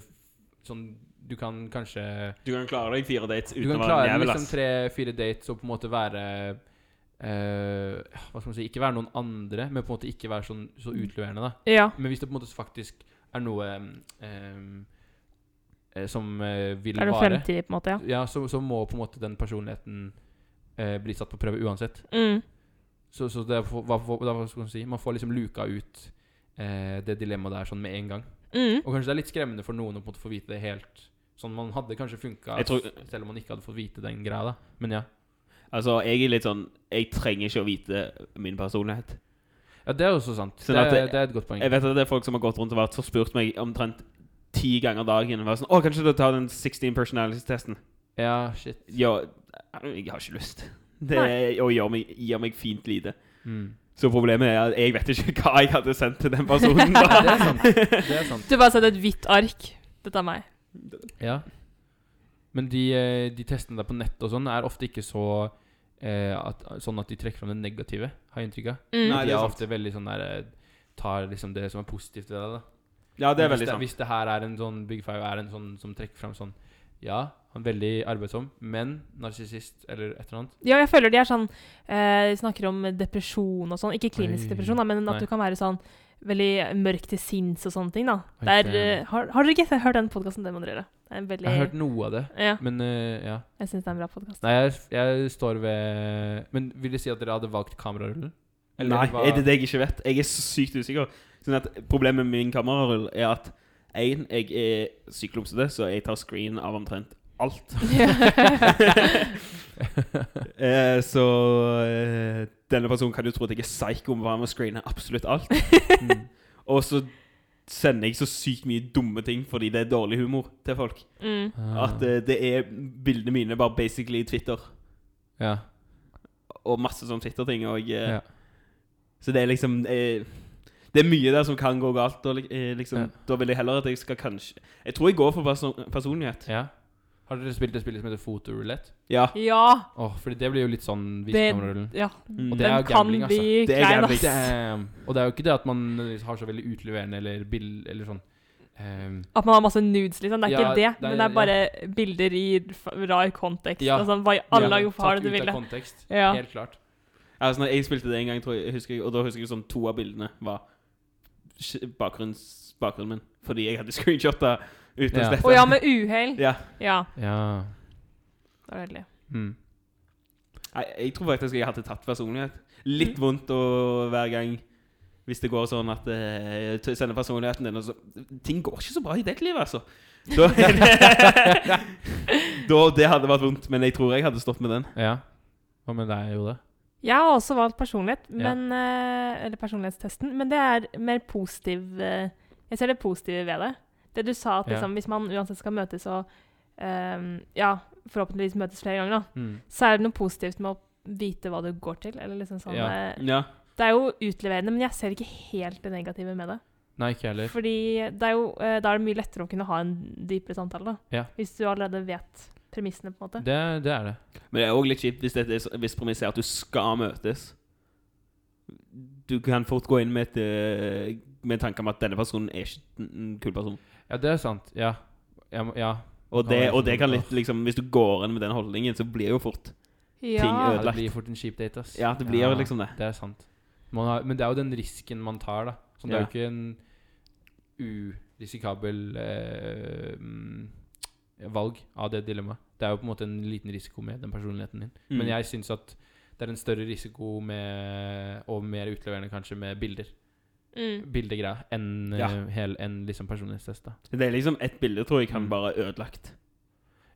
S1: Sånn du kan kanskje
S3: Du kan klare deg fire dates
S1: Du
S3: uten
S1: kan
S3: å
S1: klare
S3: være en jævel,
S1: liksom
S3: ass.
S1: tre-fire dates og på en måte være eh, Hva skal man si Ikke være noen andre, men på en måte ikke være sånn, så utleverende. da
S2: Ja.
S1: men hvis det på en måte faktisk er noe ehm, eh, som eh, vil
S2: Er det
S1: vare
S2: fremtid, på en måte? Ja.
S1: ja, så, så må på en måte den personligheten eh, bli satt på prøve uansett.
S2: Mm.
S1: Så, så det er, for- hva, hva, hva skal man si Man får liksom luka ut eh, det dilemmaet der sånn med en gang.
S2: Mm.
S1: Og kanskje det er litt skremmende for noen å på en måte få vite det helt sånn man hadde kanskje funka
S3: Jeg tror-
S1: selv om man ikke hadde fått vite den greia, da. Men ja.
S3: Altså, jeg er litt sånn Jeg trenger ikke å vite min personlighet.
S1: ja det er også sant.
S3: Sånn
S1: det,
S3: at
S1: er,
S3: det-
S1: det er et godt poeng.
S3: Jeg vet at det er folk som har gått rundt og vært så spurt meg omtrent ti ganger dagen. Vært sånn, å, kanskje du tar den 16 personality-testen?
S1: Ja, shit.
S3: Ja, eh, jeg har ikke lyst. Det
S2: Nei.
S3: og gjør meg, gjør meg fint lite. [laughs]
S1: Mm.
S3: Så problemet er at jeg vet ikke hva jeg hadde sendt til den personen.
S1: Ja, [laughs] det
S3: Da.
S1: er sant. Det er sant.
S2: Du bare sendte et hvitt ark. Dette er meg.
S1: Ja. Men de, eh, de testene der på nett og sånn er ofte ikke så eh, at, sånn at de trekker fram det negative, har jeg inntrykk av.
S2: Mm.
S1: de
S3: Nei, det
S1: er
S3: er sant.
S1: ofte veldig sånn der eh, Tar liksom det som er positivt i det. da
S3: Ja, det er
S1: Men
S3: veldig
S1: hvis,
S3: sant.
S1: hvis det her er en sånn Big Five er en sånn som trekker fram sånn Ja, han er veldig arbeidsom, men narsissist eller et eller annet.
S2: Ja, jeg føler de er sånn eh, Snakker om depresjon og sånn. Ikke
S1: Oi.
S2: klinisk depresjon, da, men at
S1: Nei.
S2: du kan være sånn veldig mørk til sinns og sånne ting. da.
S1: Oi,
S2: Det er,
S1: det-
S2: eh, har, har dere ikke hørt den podkasten? Det må dere gjøre. Det er en veldig,
S1: Jeg har hørt noe av det,
S2: Ja,
S1: men eh, ja.
S2: jeg syns det er en bra
S1: [laughs]
S2: podkast.
S1: Nei, jeg, jeg står ved Men vil det si at dere hadde valgt kamerarullen? Eller
S3: Nei,
S1: hva-
S3: er det det jeg ikke vet? Jeg er så sykt usikker. Sånn at Problemet med min kamerarull er at en, jeg er sykt klumsete, så jeg tar screen av omtrent
S2: [laughs]
S3: alt. [laughs] Eh, så eh, denne personen kan jo tro at jeg er psycho med å screene absolutt
S1: [laughs]
S3: alt.
S1: [laughs] Mm.
S3: Og så sender jeg så sykt mye dumme ting fordi det er dårlig humor til folk.
S2: Mm.
S1: Ah,
S3: [laughs] At eh, det er bildene mine bare basically Twitter.
S1: ja.
S3: Og masse sånn Twitter-ting. Og, eh,
S1: Ja.
S3: Så det er liksom eh, Det er mye der som kan gå galt. Og, li- eh, liksom,
S1: Ja.
S3: Da vil jeg heller at jeg skal kanskje Jeg tror jeg går for perso personlighet.
S1: Ja. Har dere spilt det spillet som heter fotorulett?
S3: Ja.
S2: Ja,
S1: Åh, fordi det blir jo litt sånn
S2: det,
S1: viskamerullen.
S2: ja.
S3: Mm.
S1: Og det
S2: Den
S1: er jo
S2: kan
S1: gambling,
S2: bli
S1: altså.
S3: Det er
S2: klein,
S3: gambling.
S2: ass.
S1: Damn. Og det er jo ikke det at man nødvendigvis har så veldig utleverende eller bill eller sånn Ehm,
S2: At man har masse nudes, liksom. Det er
S1: Ja,
S2: ikke det,
S1: det er-
S2: men det er bare bilder i f- rar kontekst.
S1: Ja.
S2: Og sånn, hva i alle
S1: ja,
S2: dager
S1: tatt
S2: har du det du
S1: ut av
S2: ville?
S1: kontekst.
S2: Ja.
S1: Helt klart.
S3: Altså, når jeg spilte det en gang, tror jeg, husker jeg, og da husker jeg sånn to av bildene var sk- bakgrunns, bakgrunnen min. Fordi jeg hadde screenshotta uten å
S1: Ja.
S3: slette.
S2: Å ja, med uhell.
S3: Ja.
S2: Ja,
S1: Ja.
S2: det var heldig.
S1: Mm.
S3: Nei, jeg tror faktisk jeg hadde tatt personlighet.
S2: Mm.
S3: Litt vondt å hver gang hvis det går sånn at eh, t- sender personligheten din og så Ting går ikke så bra i ditt liv, altså. Da, da, [laughs] det hadde vært vondt, men jeg tror jeg hadde stått med den.
S1: ja. Hva med deg, Jode?
S2: Jeg har også valgt personlighet,
S1: Ja.
S2: men, eh, eller personlighetstesten, men det er mer positiv eh, Jeg ser det positive ved det. Det du sa, at
S1: Ja.
S2: liksom, hvis man uansett skal møtes og eh, Ja, forhåpentligvis møtes flere ganger, da,
S1: Mm.
S2: så er det noe positivt med å vite hva du går til. Eller liksom sånn
S1: Ja.
S2: eh,
S3: Ja.
S2: Det er jo utleverende, men jeg ser ikke helt det negative med det.
S1: Nei, ikke jeg heller.
S2: Fordi det er jo, eh, da er det mye lettere å kunne ha en dypere samtale, da.
S1: Ja.
S2: Hvis du allerede vet premissene, på en måte.
S1: Det, det er det.
S3: Men det er òg litt kjipt hvis, dette er, så- hvis premisset er at du skal møtes. Du kan fort gå inn med, et, eh, med tanke om at denne personen er ikke en- en kul person.
S1: Ja, det er sant. Ja. Jeg må, ja.
S3: Og
S1: Ja, det
S3: det,
S1: er
S3: og det
S1: sant.
S3: kan litt, liksom, Hvis du går inn med den holdningen, så blir jo fort
S1: ja.
S3: ting
S1: Det
S3: ødelagt.
S1: blir fort en kjip date, ass.
S3: Ja, det blir jo liksom det.
S1: Det er sant. Man har, men det er jo den risken man tar, da. Så det er
S3: Ja.
S1: jo ikke en urisikabel eh, mm, valg av det dilemmaet. Det er jo på en måte en liten risiko med den personligheten din.
S3: Mm.
S1: Men jeg syns at det er en større risiko med, og mer utleverende kanskje med bilder.
S2: Mm.
S1: Bildegreier enn
S3: Ja.
S1: eh, hel- enn liksom personlighetstest. da
S3: Det er liksom ett bilde tror jeg kan
S1: Mm.
S3: være ødelagt.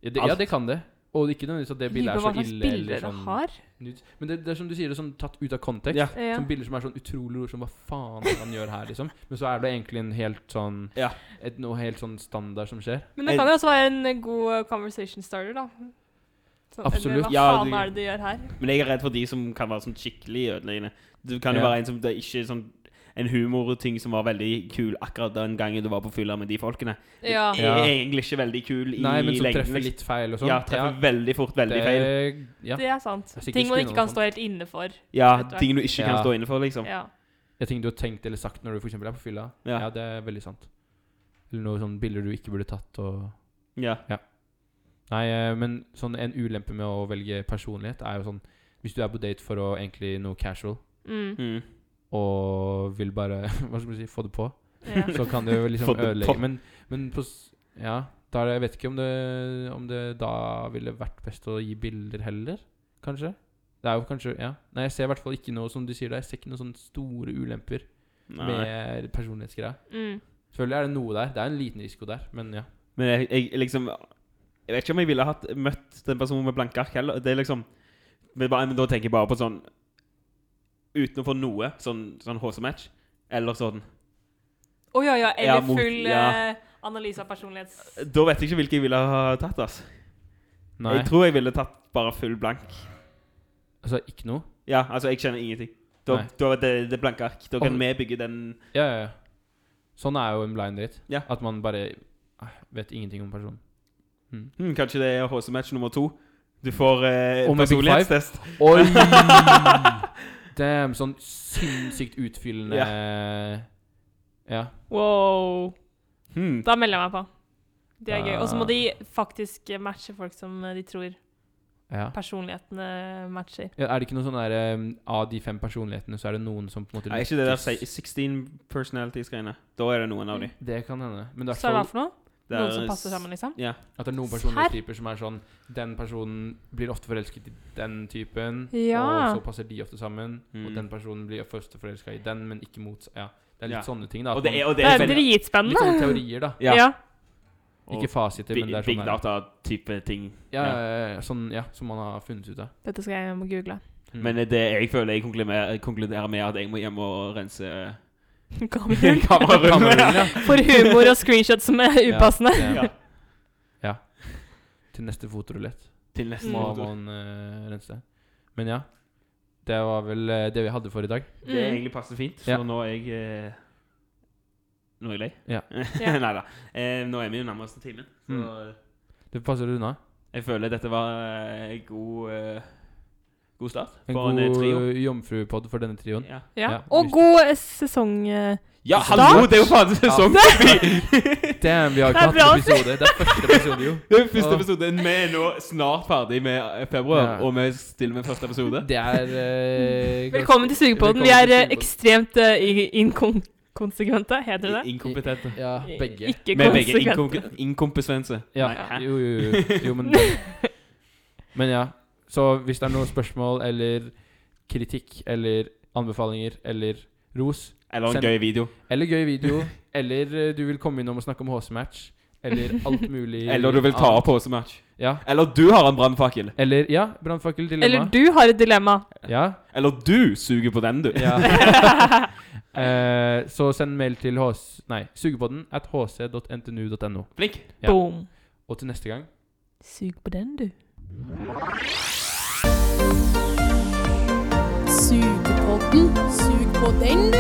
S1: ja det, ja,
S3: Alt.
S1: det kan det. Og ikke nødvendigvis at det bildet
S2: Lurer
S1: er
S2: på
S1: så
S2: hva slags
S1: ille.
S2: bilder
S1: eller sånn,
S2: det har.
S1: nudes. Men det, det er som du sier, det er sånn tatt ut av kontekst.
S3: Ja.
S2: Ja.
S1: Sånne bilder som er sånn utrolig ord som hva faen er det han gjør her, liksom. Men så er det egentlig en helt sånn
S3: Ja.
S1: et, Noe helt sånn standard som skjer.
S2: Men det kan jo også være en god eh, conversation starter, da. Sånn,
S1: Absolutt.
S2: Eller, hva
S3: Ja,
S2: faen
S3: det-
S2: er det du gjør her?
S3: Men jeg er redd for de som kan være sånn skikkelig ødeleggende. Du kan jo
S1: Ja.
S3: være en som det er ikke er sånn en humorting som var veldig kul akkurat den gangen du var på fylla med de folkene.
S2: Ja.
S3: Er
S1: Ja.
S3: egentlig ikke veldig kul i
S1: Nei, men som
S3: lengden,
S1: treffer
S3: liksom.
S1: litt feil og sånn.
S3: Ja, treffer veldig fort, veldig
S1: det-
S3: feil.
S1: Ja.
S2: Det er sant.
S1: Det er sikkert
S2: Ting man
S1: screen
S2: ikke
S1: og
S2: kan
S1: sånt.
S2: stå helt inne for.
S3: Ja,
S2: Vet du hva?
S3: ting du ikke kan
S1: Ja.
S3: stå inne for, liksom.
S2: Ja.
S1: Det er ting du har tenkt eller sagt når du for eksempel er på fylla.
S3: Ja.
S1: Ja. det er veldig sant. Eller noe sånn bilder du ikke burde tatt og
S3: Ja.
S1: Nei, eh, men sånn en ulempe med å velge personlighet er jo sånn Hvis du er på date for å egentlig noe casual
S3: [laughs]
S2: Mm.
S3: Mm.
S1: og vil bare [laughs] Hva skal man si få det på,
S2: Ja.
S1: så kan
S3: [laughs]
S1: det jo liksom
S3: Få det på.
S1: ødelegge. Men, men på s- Ja. Da er det, jeg vet ikke om det, om det da ville vært best å gi bilder heller, kanskje. Det er jo kanskje Ja. Nei, jeg ser i hvert fall ikke noe som du sier der. Jeg ser ikke noen sånne store ulemper
S3: Nei.
S1: med personlighetsgreia.
S2: Mm.
S1: Selvfølgelig er det noe der. Det er en liten risiko der, men ja.
S3: Men jeg, jeg liksom Jeg vet ikke om jeg ville hatt møtt den personen med blanke ark heller. Det er liksom men, bare, men da tenker jeg bare på sånn Uten å få noe, sånn, sånn HC-match. Eller sånn
S2: Å ja, ja.
S3: Ja,
S2: Eller
S3: mot-
S2: full
S3: ja. Eh,
S2: eh, analyse av personlighets...
S3: Da vet jeg ikke hvilke jeg ville ha tatt. ass
S1: Nei,
S3: Jeg tror jeg ville tatt bare full blank.
S1: altså ikke noe.
S3: Ja, altså, jeg kjenner ingenting. Da,
S1: Nei.
S3: da er det, det er blanke ark. Da kan
S1: Og-
S3: vi bygge den
S1: Ja, ja, ja. Sånn er jo en blind date.
S3: Ja.
S1: At man bare eh, vet ingenting om personen.
S3: hm, Kanskje det er HC-match nummer to. Du får eh,
S1: Og med Big Five?
S3: personlighetstest.
S1: Oi! [laughs] Damn, sånn sinnssykt utfyllende Ja.
S2: Wow.
S3: Hm.
S2: Da melder jeg meg på. Det er gøy. Og så må
S1: Ah.
S2: de faktisk matche folk som eh, de tror
S1: ja.
S2: personlighetene matcher.
S1: Ja, Er det ikke noe sånn der um, Av de fem personlighetene, så er det noen som på en måte
S3: Nei, ikke det der
S1: lykkes?
S3: se- 16 personalities-greiene. Da er det noen av dem.
S1: Det kan hende. Men det er
S2: Så er det hva
S1: hvert fall
S2: for noe? Mm. Noen som passer sammen, liksom?
S3: Ja.
S1: at det er noen
S2: Serr?
S1: personlighetstyper som er sånn Den personen blir ofte forelsket i den typen,
S2: Ja.
S1: og så passer de ofte sammen.
S3: Mm.
S1: Og den personen blir ofte forelska i den, men ikke mot Ja, det er litt
S3: Ja.
S1: sånne ting, da. at
S3: Og det er,
S1: man-
S3: og
S2: Det
S3: det er
S2: er
S3: veldig
S1: litt sånn
S2: dritspennende.
S1: sånne teorier, da.
S3: Ja.
S2: ja.
S1: Ikke fasiter, men det er
S3: Big
S1: sånn der-
S3: data-type ting.
S1: Ja, ja, ja, sånn, ja, som man har funnet ut av.
S2: Dette skal jeg må google.
S1: Mm.
S3: Men det jeg føler jeg konkluderer, konkluderer med, at jeg må hjem og rense eh,
S2: [laughs] Gammel.
S3: kamerarommet.
S1: Kamerarullen, ja.
S2: [laughs] For humor og screenshots som er upassende.
S1: Ja,
S3: ja.
S1: ja. Til neste fotorulett
S3: Til
S2: Mm.
S1: må
S3: neste motor.
S1: man eh, rense. Men ja. Det var vel eh, det vi hadde for i dag.
S3: Det er
S2: Mm.
S3: egentlig passe fint, så
S1: Ja.
S3: nå er jeg eh, Nå er jeg lei. [laughs]
S1: Ja.
S2: Ja.
S3: Nei da. Eh, nå er vi jo nærmest timen. Så
S1: Mm. Det passer unna.
S3: jeg føler dette var eh, god eh, God start
S1: En
S3: på en eh, trio.
S1: god jomfrupod for denne trioen.
S3: Ja.
S2: Ja.
S1: Ja,
S2: og
S1: hvis-
S2: god eh, sesong... eh,
S3: ja,
S1: Start?
S3: hallo! Det er jo faen sesong
S1: [laughs]
S3: forbi!
S1: Damn, vi har ikke
S2: Det er
S1: hatt
S2: bra.
S1: episode. Det er første
S3: [laughs]
S1: episode, jo.
S3: Det er Første
S1: Åh.
S3: episode. Vi er nå snart ferdig med eh, februar,
S1: Ja.
S3: og vi stiller med første episode.
S1: Det er eh,
S2: Velkommen til Sugepodden.
S1: Velkommen
S2: Vi er
S1: til
S2: eh,
S1: Sugepodden.
S2: ekstremt eh, i- inkonsekvente, heter det det?
S3: Inkompetente.
S1: ganske- Ja, begge.
S2: Ikke
S3: Vi er begge
S2: konsekvente.
S3: inkonk- inkompetense.
S1: Ja,
S3: Nei, hæ?
S1: jo, jo, jo. jo
S2: [laughs]
S1: men, men ja. Så hvis det er noen spørsmål eller kritikk eller anbefalinger eller ros,
S3: Eller en
S1: Send-
S3: gøy video.
S1: eller gøy
S3: [laughs]
S1: video, eller eh, du vil komme innom og snakke om HC-match, eller alt mulig
S3: Eller du vil ta opp HC-match.
S1: Ja.
S3: Eller du har en brannfakkel.
S1: Eller Ja, brannfakkeldilemma.
S2: Eller du har et dilemma.
S1: Ja.
S3: Eller du suger på den, du.
S1: ja.
S2: [laughs]
S1: Eh, så send mail til hc... Nei, sugepodden at hc.ntnu.no.
S3: Flink.
S1: Ja.
S2: Boom.
S1: Og til neste gang
S2: Sug på den, du.
S4: Sugepodden. Sug på den, du.